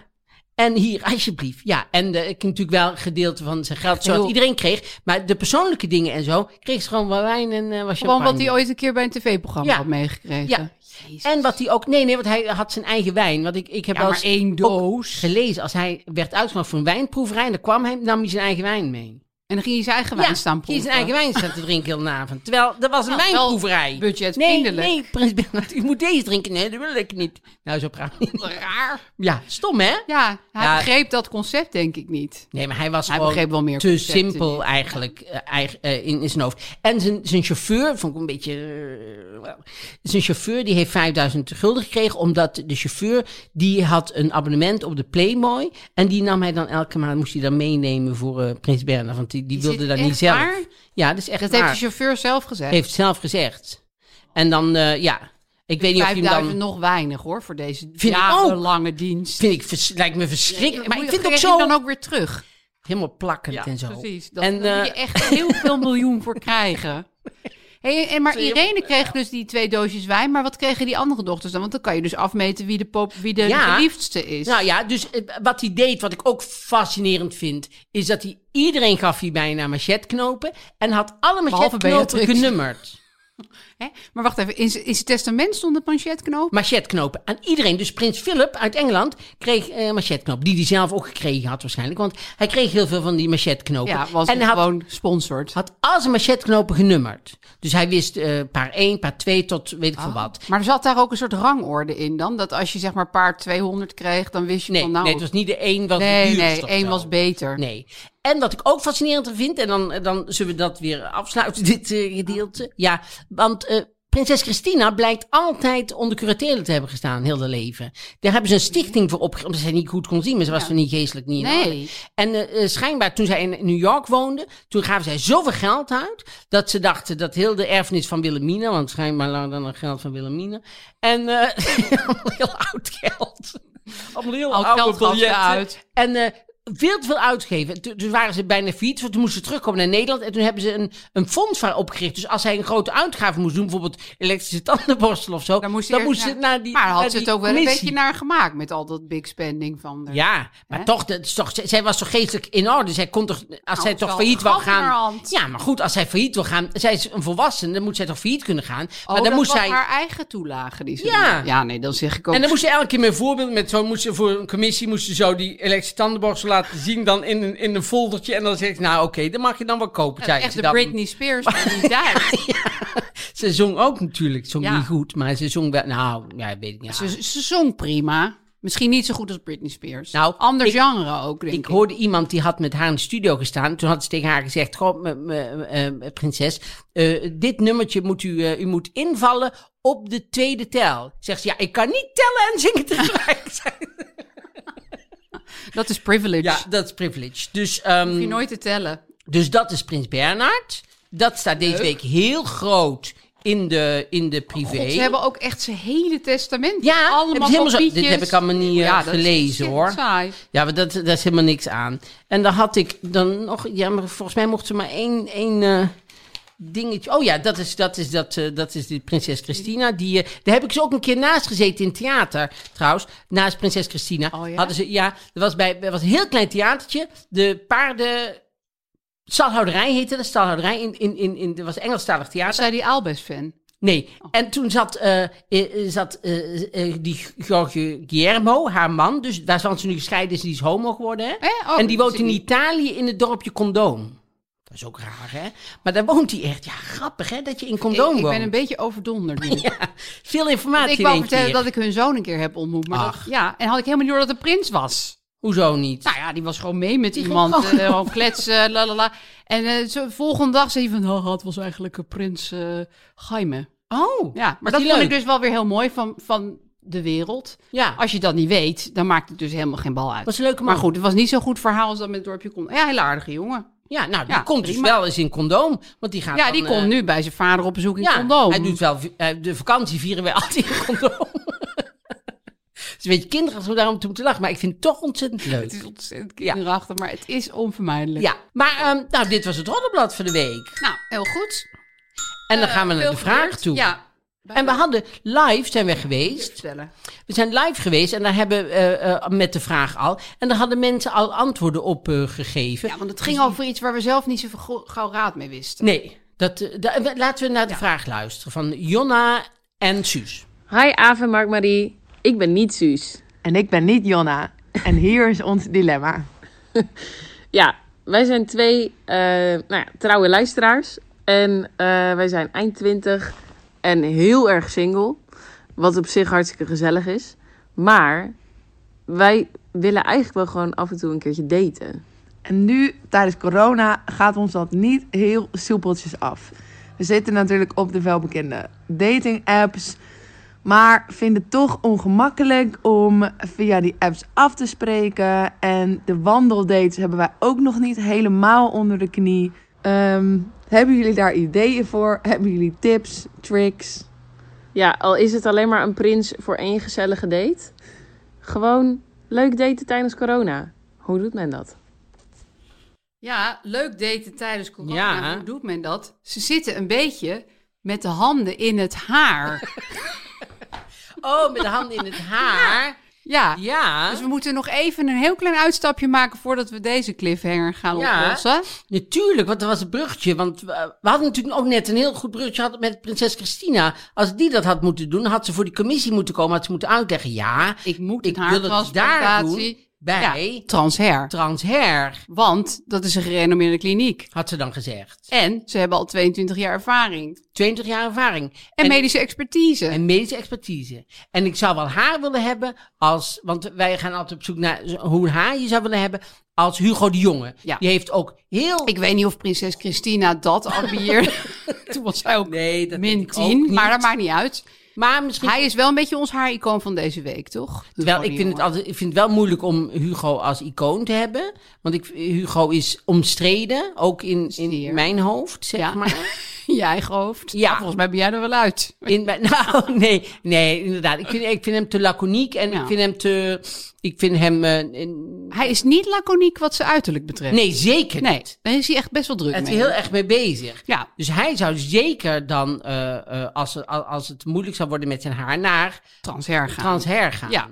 En hier, alsjeblieft. Ja, en eh, ik heb natuurlijk wel een gedeelte van zijn geld, zodat Heel- iedereen kreeg. Maar de persoonlijke dingen en zo, kreeg ze gewoon wel wijn en eh was Gewoon champagne. wat hij ooit een keer bij een tv-programma Ja. had meegekregen. Ja. Jezus. En wat hij ook... Nee, nee, want hij had zijn eigen wijn. Want ik, ik heb Ja, wel maar eens één ook doos. gelezen. Als hij werd uitgenodigd voor een wijnproeverij, en dan kwam hij, nam hij zijn eigen wijn mee. En dan ging hij zijn eigen wijn staan ging proeven. zijn eigen wijn staan te drinken heel de avond. Terwijl, dat was een Nou, wel wijnproeverij. budgetvriendelijk. Nee, nee, prins Bernhard, u moet deze drinken. Nee, dat wil ik niet. Nou, zo praat hij niet. Raar. Ja, stom hè? Ja, hij Ja. begreep dat concept denk ik niet. Nee, maar hij was Hij gewoon begreep wel meer te concepten simpel niet. eigenlijk eh, eigen- eh, in, in zijn hoofd. En zijn, zijn chauffeur, vond ik een beetje... eh, wel. zijn chauffeur die heeft 5000 gulden gekregen, omdat de chauffeur die had een abonnement op de Playmoy. En die nam hij dan elke maand, moest hij dan meenemen voor eh, Prins Bernhard, want die, die, Is wilde dit dat echt niet zelf. waar? Ja, dat is echt Dat waar. heeft de chauffeur zelf gezegd. heeft zelf gezegd. En dan, eh, ja, ik weet niet of hij hem 5000 dan... nog weinig hoor, voor deze ik jarenlange dienst. Vind ik, vers- lijkt me verschrikkelijk. Maar ik vind het ook zo dan ook weer terug. helemaal plakkend en zo. precies. Dat, en, daar eh, moet je echt heel veel miljoen voor krijgen. Hey, en maar Irene kreeg dus die twee doosjes wijn, maar wat kregen die andere dochters dan? Want dan kan je dus afmeten wie de, pop, wie de Ja. geliefdste is. Nou ja, dus eh, wat hij deed, wat ik ook fascinerend vind, is dat hij iedereen gaf hij bijna machetknopen en had alle Behalve machetknopen Beatrix. genummerd. Hè? Maar wacht even, in z- in zijn testament stond een manchetknoop? Machetknopen aan iedereen. Dus prins Philip uit Engeland kreeg eh machetknopen, die hij zelf ook gekregen had waarschijnlijk, want hij kreeg heel veel van die machetknopen. Ja, was en hij had, gewoon sponsored. had al zijn machetknopen genummerd. Dus hij wist eh, paar 1, paar 2 tot weet ik Ah. veel wat. Maar er zat daar ook een soort rangorde in dan? Dat als je zeg maar paar 200 kreeg, dan wist je Nee, van nou... nee, het was niet de één was nee, de nee, duurste of één zo. was beter. Nee. En wat ik ook fascinerend vind, en dan, dan zullen we dat weer afsluiten, dit eh, gedeelte. Ja, want eh, Prinses Christina blijkt altijd onder curatelen te hebben gestaan, heel haar leven. Daar hebben ze een stichting voor opgericht, omdat zij niet goed kon zien, maar ze was Ja. toen niet geestelijk niet in Nee. orde. En eh, eh, schijnbaar, toen zij in New York woonde, toen gaven zij zoveel geld uit, dat ze dachten dat heel de erfenis van Wilhelmina, want schijnbaar lag dan nog geld van Wilhelmina, en eh, allemaal heel oud geld. Allemaal heel Oud oude geld gaf ze biljetten. uit. En eh, veel te veel uitgeven. Toen, toen waren ze bijna failliet, want toen moesten ze terugkomen naar Nederland. En toen hebben ze een, een fonds voor haar opgericht. Dus als hij een grote uitgave moest doen, bijvoorbeeld elektrische tandenborstel of zo, Dan dan moest, moest, hij er- ja. ze naar die Maar naar had ze die het ook wel een commissie. beetje naar gemaakt met al dat big spending van haar. Oh, Ja, maar Hè? toch, dat is toch, zij- zij was toch geestelijk in orde. Zij kon toch, als zij het is toch wel failliet een wil gat in haar gaan. hand. Ja, maar goed, als zij failliet wil gaan, zij is een volwassene, dan moet zij toch failliet kunnen gaan. Oh, maar dan dat moest was zij. haar eigen toelage die ze Ja. deed. Ja, nee, dan zeg ik ook... En dan moest je elke keer met voorbeeld, met zo moest je voor een commissie moest je zo die elektrische tandenborstel laten zien, dan in een, in een foldertje. En dan zeg ik, nou oké, dan mag je dan wel kopen. Ja, zei echt ze de dan. Britney Spears van die tijd. Ze zong ook natuurlijk, zong Ja. niet goed, maar ze zong wel, nou, ja, weet ik niet. Ze, ze zong prima. Misschien niet zo goed als Britney Spears. Nou, Ander ik- genre ook, denk ik. Ik hoorde iemand die had met haar in de studio gestaan. Toen had ze tegen haar gezegd: Goh, m- m- eh, prinses, eh, dit nummertje moet u, eh, u moet invallen op de tweede tel. Zegt ze: Ja, ik kan niet tellen en zingen tegelijk. Dat is privilege. ja, dat is privilege. Dus, ehm, Hoef je nooit te tellen. dus dat is Prins Bernhard. Dat staat deze week heel groot in de, in de privé. Oh, God, ze hebben ook echt zijn hele testament. Ja, allemaal hebben ze helemaal zo- papietjes. dit heb ik allemaal niet, eh, Ja, dat is gelezen, hoor. ontzettend saai. Ja, maar dat, daar is helemaal niks aan. En daar had ik dan nog... Ja, maar volgens mij mocht ze maar één, één eh, dingetje... Oh ja, dat is, dat is, dat, eh, dat is die prinses Christina. Die, eh, daar heb ik ze ook een keer naast gezeten in het theater, trouwens. Naast prinses Christina. Oh ja? Hadden ze, ja, er was, bij, er was een heel klein theatertje. De paarden... Stalhouderij heette dat, stalhouderij. In, in, in, in, dat was Engelstalig theater. Was zij die Albes-fan? Nee, Oh. en toen zat, eh, eh, eh, zat eh, eh, die Jorge Guillermo, haar man, dus daar zijn ze nu gescheiden, is die is homo geworden. Hè? Eh, oh, en die woont zie in ik Italië in het dorpje Condoom. Dat is ook raar, hè? Maar daar woont hij echt. Ja, grappig, hè? Dat je in Ik, Condoom ik woont. ben een beetje overdonderd nu. Veel informatie ik wou in één vertellen keer. dat ik hun zoon een keer heb ontmoet. Maar dat- Ach. ja, en had ik helemaal niet door dat het een prins was. Hoezo niet? Nou ja, die was gewoon mee met Die ging iemand. gewoon- eh, Gewoon kletsen, la la la. En eh, zo, de volgende dag zei hij van... Oh, het was eigenlijk eh, prins eh Jaime. oh, Ja, maar was dat die vond leuk? ik dus wel weer heel mooi van, van de wereld. Ja, Als je dat niet weet, dan maakt het dus helemaal geen bal uit. was een leuke man. maar goed, het was niet zo'n goed verhaal als dat met het dorpje kon. Ja, heel aardige jongen. Ja, nou, die Ja, komt dus prima. wel eens in Condoom. Want die gaat Ja, dan, die eh, komt nu bij zijn vader op bezoek in Ja, condoom. hij doet wel... eh, de vakantie vieren wij altijd in Condoom. Het is een beetje kinderachtig om daarom toe moeten lachen. Maar ik vind het toch ontzettend leuk. Het is ontzettend kinderachtig, maar het is onvermijdelijk. Ja, maar ehm, nou, dit was het roddelblad van de week. Nou, heel goed. En dan gaan we naar Eh, Veel de vraag gebeurd. toe. Ja, En we hadden live zijn we geweest. stellen. We zijn live geweest en daar hebben eh, eh, met de vraag al. En daar hadden mensen al antwoorden op eh, gegeven. Ja, dus want het ging over iets waar we zelf niet zo go- gauw raad mee wisten. Nee, dat, eh, da- eh, laten we naar de vraag luisteren van Jonna en Suus. Hi Ave Mark Marie, ik ben niet Suus. En ik ben niet Jonna. En hier is ons dilemma. Ja, wij zijn twee eh, nou ja, trouwe luisteraars. En eh, wij zijn eind twintig en heel erg single. Wat op zich hartstikke gezellig is. Maar wij willen eigenlijk wel gewoon af en toe een keertje daten. En nu, tijdens corona, gaat ons dat niet heel soepeltjes af. We zitten natuurlijk op de welbekende dating apps. Maar vinden het toch ongemakkelijk om via die apps af te spreken. En de wandeldates hebben wij ook nog niet helemaal onder de knie. Ehm, hebben jullie daar ideeën voor? Hebben jullie tips, tricks? Ja, al is het alleen maar een prins voor één gezellige date. Gewoon leuk daten tijdens corona. Hoe doet men dat? Ja, leuk daten tijdens corona. Ja. Hoe doet men dat? Ze zitten een beetje met de handen in het haar. Oh, met de hand in het haar. ja. Ja, Dus we moeten nog even een heel klein uitstapje maken voordat we deze cliffhanger gaan Ja. oplossen. natuurlijk, want dat was het bruggetje. Want we, we hadden natuurlijk ook net een heel goed bruggetje gehad met prinses Christina. Als die dat had moeten doen, had ze voor die commissie moeten komen, had ze moeten uitleggen. Ja, Ik moet Ik een wil het daar haartransplantatie. bij Ja, transher. Transher, Want dat is een gerenommeerde kliniek. had ze dan gezegd. En ze hebben al 22 jaar ervaring. 20 jaar ervaring. En, medische expertise. en medische expertise. En ik zou wel haar willen hebben als... Want wij gaan altijd op zoek naar z- hoe haar je zou willen hebben... als Hugo de Jonge. Ja. Die heeft ook heel... ik weet niet of prinses Christina dat ambieerde. Toen was zij ook nee, dat min denk ik ook 10, maar niet. dat maakt niet uit. Maar misschien... Hij is wel een beetje ons haar-icoon van deze week, toch? Terwijl ik vind, het altijd, ik vind het wel moeilijk om Hugo als icoon te hebben. Want ik, Hugo is omstreden, ook in, in Zeer. mijn hoofd, zeg Ja. maar. in je eigen hoofd. Ja. Ja. Volgens mij ben jij er wel uit. In, mijn- nou, nee, nee, inderdaad. Ik vind, ik vind hem te laconiek en ik Ja. vind hem te... Ik vind hem... eh, in- Hij is niet laconiek wat zijn uiterlijk betreft. nee, zeker Nee, niet. daar is hij echt best wel druk Hij is mee. er heel erg mee bezig. Ja, Dus hij zou zeker dan, eh, eh, als, als, als het moeilijk zou worden met zijn haar, naar transher gaan. transher gaan. Ja.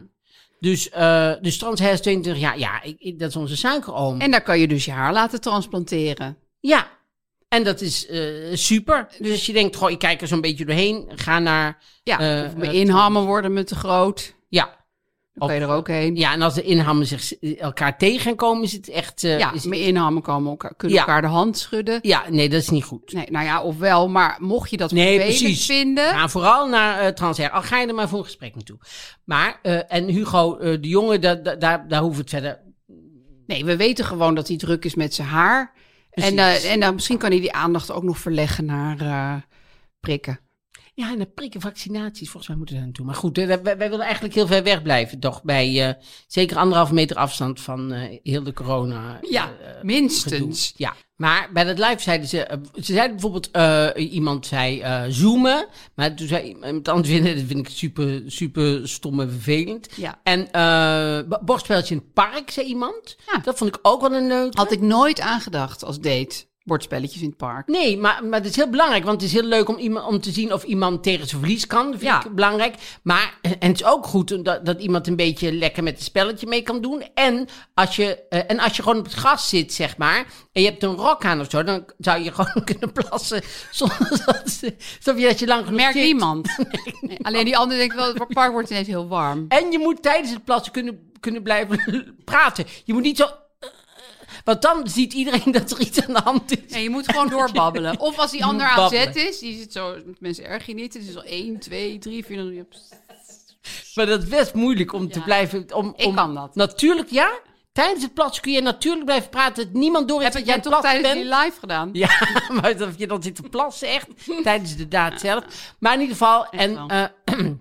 Dus, eh, dus transher is 22 jaar. Ja, ik, ik- dat is onze suikeroom. En daar kan je dus je haar laten transplanteren. Ja, en dat is eh, super. Dus als je denkt, goh, ik kijk er zo'n beetje doorheen, ga naar... Ja, Eh, of eh, inhammen worden met te groot. Ja, Dan kan je er ook heen. Ja, ja en als de inhammen zich eh, elkaar tegenkomen, is het echt... eh, is- met inhammen komen elkaar, kunnen Ja. elkaar de hand schudden. ja, nee, dat is niet goed. Nee, nou ja, ofwel, maar mocht je dat Nee, vervelend precies. vinden... Ga vooral naar eh Transair. Al ga je er maar voor een gesprek naartoe. Maar, eh, en Hugo eh, de Jonge, da- da- daar, daar hoeven we het verder... Nee, we weten gewoon dat hij druk is met zijn haar. En, Precies. eh, en dan misschien kan hij die aandacht ook nog verleggen naar eh, prikken. Ja, en dan prikken vaccinaties. Volgens mij moeten we daar naartoe. Maar goed, eh, wij, wij- wij willen eigenlijk heel ver weg blijven. Toch bij eh, zeker anderhalf meter afstand van eh, heel de corona. Ja, eh, minstens. Ja, maar bij dat live zeiden ze... eh, Ze zeiden bijvoorbeeld, eh, iemand zei eh, zoomen. Maar toen zei iemand anders, "Nee, dat vind ik super, super stom en vervelend. Ja. En eh, bo- borstspeltje in het park, zei iemand. Ja. Dat vond ik ook wel een eh, leuk. Had ik nooit aangedacht als date. Bordspelletjes in het park. Nee, maar, maar het is heel belangrijk. Want het is heel leuk om, iemand, om te zien of iemand tegen zijn verlies kan. Dat vind Ja. ik belangrijk. Maar, eh, en het is ook goed dat, dat iemand een beetje lekker met het spelletje mee kan doen. En als, je, eh, en als je gewoon op het gras zit, zeg maar. En je hebt een rok aan of zo. Dan zou je gewoon kunnen plassen. Zonder dat, zonder dat je lang genoeg Merkt zit. niemand. Nee, Alleen die ander denkt wel, het park wordt ineens heel warm. En je moet tijdens het plassen kunnen, kunnen blijven praten. Je moet niet zo... eh, Want dan ziet iedereen dat er iets aan de hand is. Nee, je moet gewoon doorbabbelen. Of als die ander aan babbelen. zet is, die zit zo, mensen erg je niet. Het is al 1, 2, 3, 4, 5, 6. Maar dat is best moeilijk om te blijven. Om, Ik om- kan dat. Natuurlijk, ja. Tijdens het plassen kun je natuurlijk blijven praten. Dat niemand door heeft Heb dat jij aan het toch plassen tijdens bent. die live gedaan? Ja, maar dat je dan zit te plassen, echt. tijdens de daad zelf. Maar in ieder geval. En, wel. eh,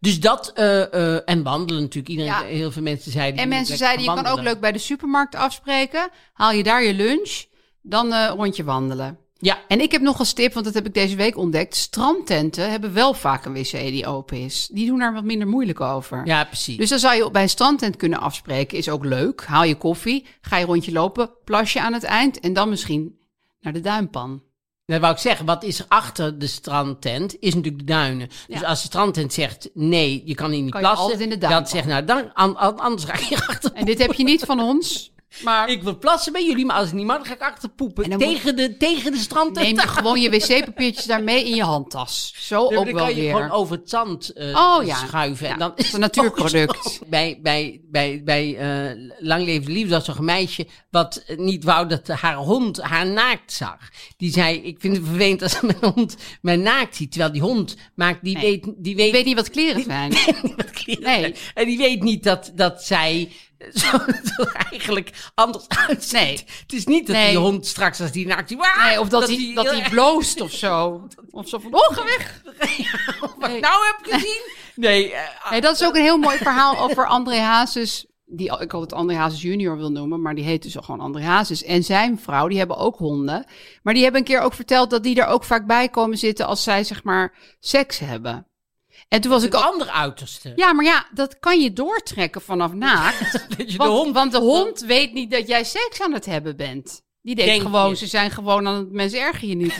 dus dat. eh, eh, en wandelen natuurlijk. Iedereen, Ja. Heel veel mensen zeiden. En moet mensen lekker zeiden, je gaan kan ook wandelen. leuk bij de supermarkt afspreken. Haal je daar je lunch, dan eh rondje wandelen. Ja, En ik heb nog als tip, want dat heb ik deze week ontdekt. Strandtenten hebben wel vaak een wc die open is. Die doen daar wat minder moeilijk over. ja, precies. Dus dan zou je bij een strandtent kunnen afspreken. Is ook leuk. Haal je koffie, ga je rondje lopen, plas je aan het eind. En dan misschien naar de duimpan. Dat wou ik zeggen, wat is er achter de strandtent, is natuurlijk de duinen. Dus Ja. als de strandtent zegt, nee, je kan hier niet Kan je plassen. altijd in de duinen dat zegt, nou, dan, an- an- anders ga ik hier achter En dit heb je niet van ons. Maar Ik wil plassen bij jullie, maar als het niet mag, dan ga ik achter poepen. En dan Tegen, de, tegen de strandtent. neem je aan. gewoon je wc-papiertjes daarmee in je handtas. Zo Nee, maar ook dan wel kan je gewoon weer. over het zand eh, Oh, ja. schuiven. Ja, En dan het is een het ook natuurproduct. zo. Bij, bij, bij, bij eh, Lang Leef de Liefde was er een meisje wat niet wou dat haar hond haar naakt zag. Die zei, ik vind het vervelend als mijn hond mij naakt ziet. Terwijl die hond maakt, die Nee. weet... Die Ik weet weet niet wat kleren zijn. Nee. En die weet niet dat, dat zij zo, zo eigenlijk anders uitziet. Nee. Het is niet dat Nee. die hond straks als die naakt... Die, Nee, of dat, hij, dat hij bloost of zo. Of zo van, oh, ga weg. Wat ik nou heb gezien? Nee, eh, Nee, dat is ook een heel mooi verhaal over André Hazes. Die, ik had het André Hazes junior wil noemen, maar die heet dus al gewoon André Hazes. En zijn vrouw, die hebben ook honden. Maar die hebben een keer ook verteld dat die er ook vaak bij komen zitten als zij, zeg maar, seks hebben. En toen was ik het al... andere uiterste. Ja, maar ja, dat kan je doortrekken vanaf naakt. Dat je de Want want de, hond... hond... weet niet dat jij seks aan het hebben bent. Die denkt Denk gewoon, je. ze zijn gewoon aan het mensen erger je niet.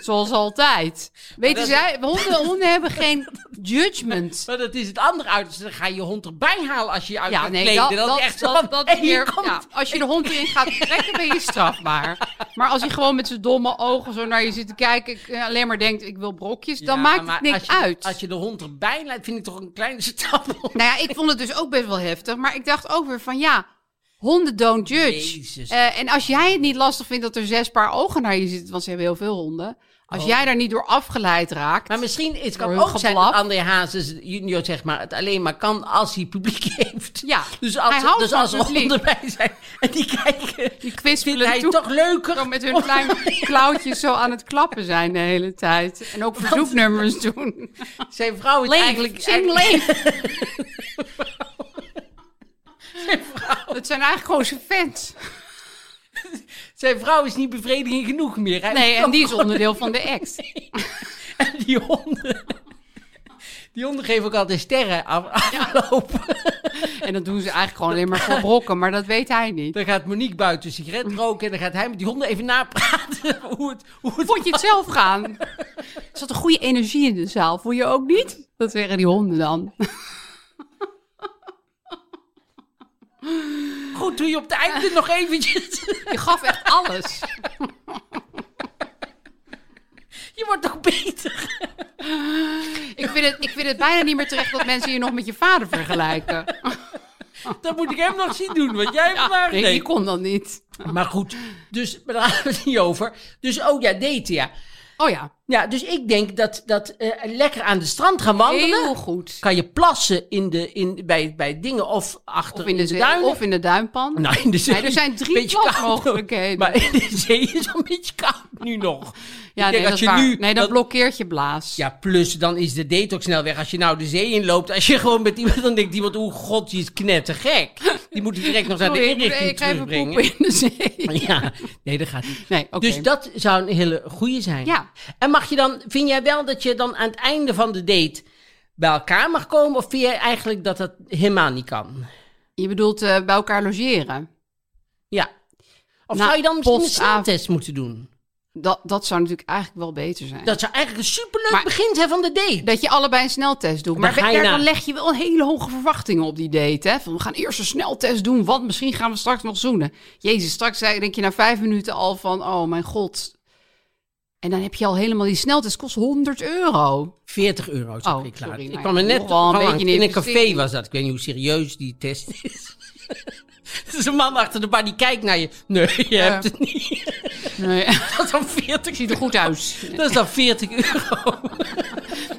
Zoals altijd. Weten zij, honden, honden hebben geen judgment. Maar dat is het andere uiterste. Dan ga je je hond erbij halen als je je uit Ja, gaat nee, kleden. dat, Dan dat, is echt zo dat, van, dat hey, meer- hier komt ja, als je de hond erin gaat trekken, ben je strafbaar. Maar als hij gewoon met zijn domme ogen zo naar je zit te kijken... ik, eh, alleen maar denkt, ik wil brokjes, dan Ja, maakt maar het niks als je, uit. Als je de hond erbij leidt, vind ik toch een kleine stap. Nou ja, ik vond het dus ook best wel heftig. Maar ik dacht ook weer van ja, honden don't judge. Jezus. Eh, en als jij het niet lastig vindt dat er zes paar ogen naar je zitten, want ze hebben heel veel honden. Als jij daar niet door afgeleid raakt. Oh. Maar misschien het Door kan hun ook zijn dat geblaf. André Hazes junior zeg maar, het alleen maar kan als hij publiek heeft. Ja, Dus als, hij houdt dus van als er publiek. honden bij zijn en die kijken, die vindt hij kwispelen het toe, toch Oh. leuker. zo met hun kleine klauwtjes zo aan het klappen zijn de hele tijd. En ook verzoeknummers doen. Zijn vrouw is eigenlijk... Leef, zing eigenlijk- leef. Het zijn eigenlijk gewoon zijn fans. Zijn vrouw is niet bevrediging genoeg meer. Hij Nee, wil en die is gewoon- onderdeel van de ex. En die honden... Die honden geven ook altijd sterren af, aflopen. En dat doen ze eigenlijk gewoon alleen maar voor brokken, maar dat weet hij niet. Dan gaat Monique buiten een sigaret roken... en dan gaat hij met die honden even napraten hoe het, hoe het Vond je het zelf gaan? Er zat een goede energie in de zaal. Voel je ook niet? Dat zeggen die honden dan. goed doe je op het einde nog eventjes... Je gaf echt alles. Je wordt toch beter? Ik vind het, ik vind het bijna niet meer terecht dat mensen je nog met je vader vergelijken. Dat moet ik hem nog zien doen, want jij hebt Ja, vandaag nee, die kon dan niet. Maar goed, dus, maar daar hadden we het niet over. Dus ook, ja, daten, ja. Oh ja, Ja, dus ik denk dat, dat eh, lekker aan de strand gaan wandelen. heel goed. Kan je plassen in de, in, bij, bij dingen of achter Of in de, zee- duinen. of in de duimpan. nou, in de zee. Nee, er zijn drie Beetje koud. plasmogelijkheden. Maar in de zee is een beetje koud nu nog. ja, Ik denk nee, dat als is je waar. nu- nee, dat blokkeert je blaas. Ja, plus dan is de detox snel weg. Als je nou de zee inloopt, als je gewoon met iemand, dan denkt iemand, oh god, die is knettergek. Die moet ik direct nog naar de Sorry, ik moet- inrichting ik ga even terugbrengen. poepen in de zee. Ja, nee, dat gaat niet. Nee, oké. Dus dat zou een hele goede zijn. Ja. En mag je dan, vind jij wel dat je dan aan het einde van de date bij elkaar mag komen? Of vind jij eigenlijk dat dat helemaal niet kan? Je bedoelt eh, bij elkaar logeren. Ja. Of Nou, zou je dan misschien een postav- sneltest moeten doen? Dat, dat zou natuurlijk eigenlijk wel beter zijn. Dat zou eigenlijk een superleuk Maar- begin zijn van de date. Dat je allebei een sneltest doet. Maar Dan ga je daar, na. dan leg je wel hele hoge verwachtingen op die date. Hè? Van, we gaan eerst een sneltest doen, want misschien gaan we straks nog zoenen. Jezus, straks zei- denk je na vijf minuten al van, oh mijn god. En dan heb je al helemaal die sneltest, kost 100 euro. 40 euro zou Oh, ik klaar. sorry, ik nou kwam er ja, net nog wel een van beetje langs. een In een café investering. was dat. Ik weet niet hoe serieus die test is. Er is een man achter de bar die kijkt naar je. Nee, je hebt het niet. Nee, Dat is dan 40 ziet er goed uit. Dat is dan 40 euro.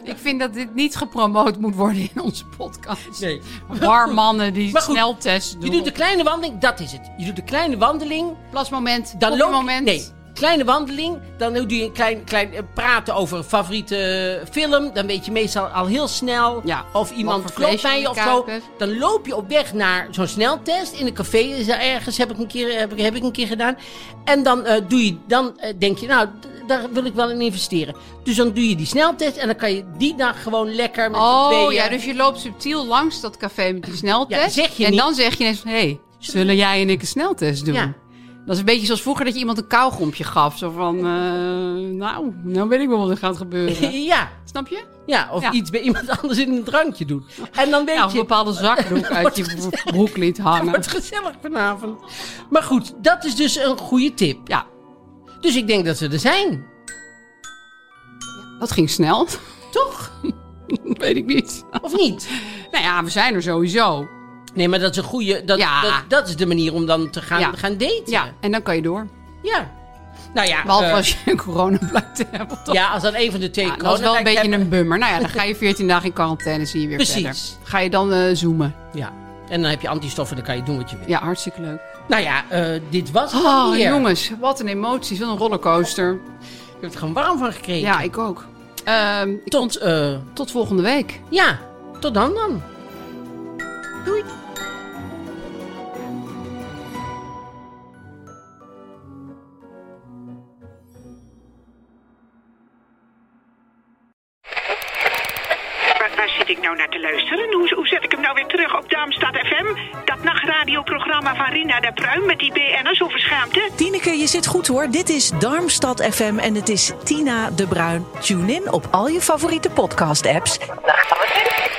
Ik vind dat dit niet gepromoot moet worden in onze podcast. Nee. Barmannen die Maar goed, sneltest doen. Je doet de kleine wandeling, dat is het. Je doet de kleine wandeling, plasmoment, dan loop moment. Nee, kleine wandeling, dan doe je een klein, klein eh, praten over favoriete eh, film. Dan weet je meestal al heel snel Ja, of wat iemand voor klopt vlees je bij in je de of kaak zo. hebt. Dan loop je op weg naar zo'n sneltest. In een café is er ergens, heb ik een keer, heb ik, heb ik een keer gedaan. En dan, eh, doe je, dan eh, denk je, nou, d- daar wil ik wel in investeren. Dus dan doe je die sneltest en dan kan je die dag gewoon lekker met z'n Oh tweeën- ja, dus je loopt subtiel langs dat café met die sneltest. Ja, zeg je en niet. dan zeg je ineens: hé, hey, zullen jij en ik een sneltest doen? Ja. Dat is een beetje zoals vroeger dat je iemand een kauwgompje gaf. Zo van: eh, nou, nou weet ik wel wat er gaat gebeuren. Ja, Snap je? Ja, of Ja. iets bij iemand anders in een drankje doen. En dan weet Ja, of je, een bepaalde zakdoek uit je broek liet het hangen. wordt gezellig vanavond. Maar goed, dat is dus een goede tip. Ja, Dus ik denk dat ze er zijn, dat ging snel. toch? weet ik niet. Of niet? Nou ja, we zijn er sowieso. Nee, maar dat is een goede... Dat, Ja. dat, dat is de manier om dan te gaan, Ja. gaan daten. Ja, en dan kan je door. Ja. Nou ja... Behalve eh, als je corona blijkt te hebben. toch? ja, als dan een van de twee Ja, dat is wel een coronalijken beetje hebben. een bummer. Nou ja, dan ga je 14 dagen in quarantaine, zie je weer Precies. verder. Ga je dan eh, zoomen. Ja. En dan heb je antistoffen, dan kan je doen wat je wil. Ja, hartstikke leuk. Nou ja, eh, dit was het Oh, alweer. jongens, wat een emoties. Wat een rollercoaster. Ik heb er gewoon warm van gekregen. Ja, ik ook. Ehm, ik- Tot... eh, tot volgende week. ja, tot dan dan. Doei. Waar, waar zit zit ik nou naar te luisteren? Hoe, hoe zet ik hem nou weer terug op Darmstad FM? Dat nachtradioprogramma van Rina de Pruim met die BN'ers over schaamte? Tineke, je zit goed hoor. Dit is Darmstad FM en het is Tina de Bruin. Tune in op al je favoriete podcast-apps. Daar gaan we.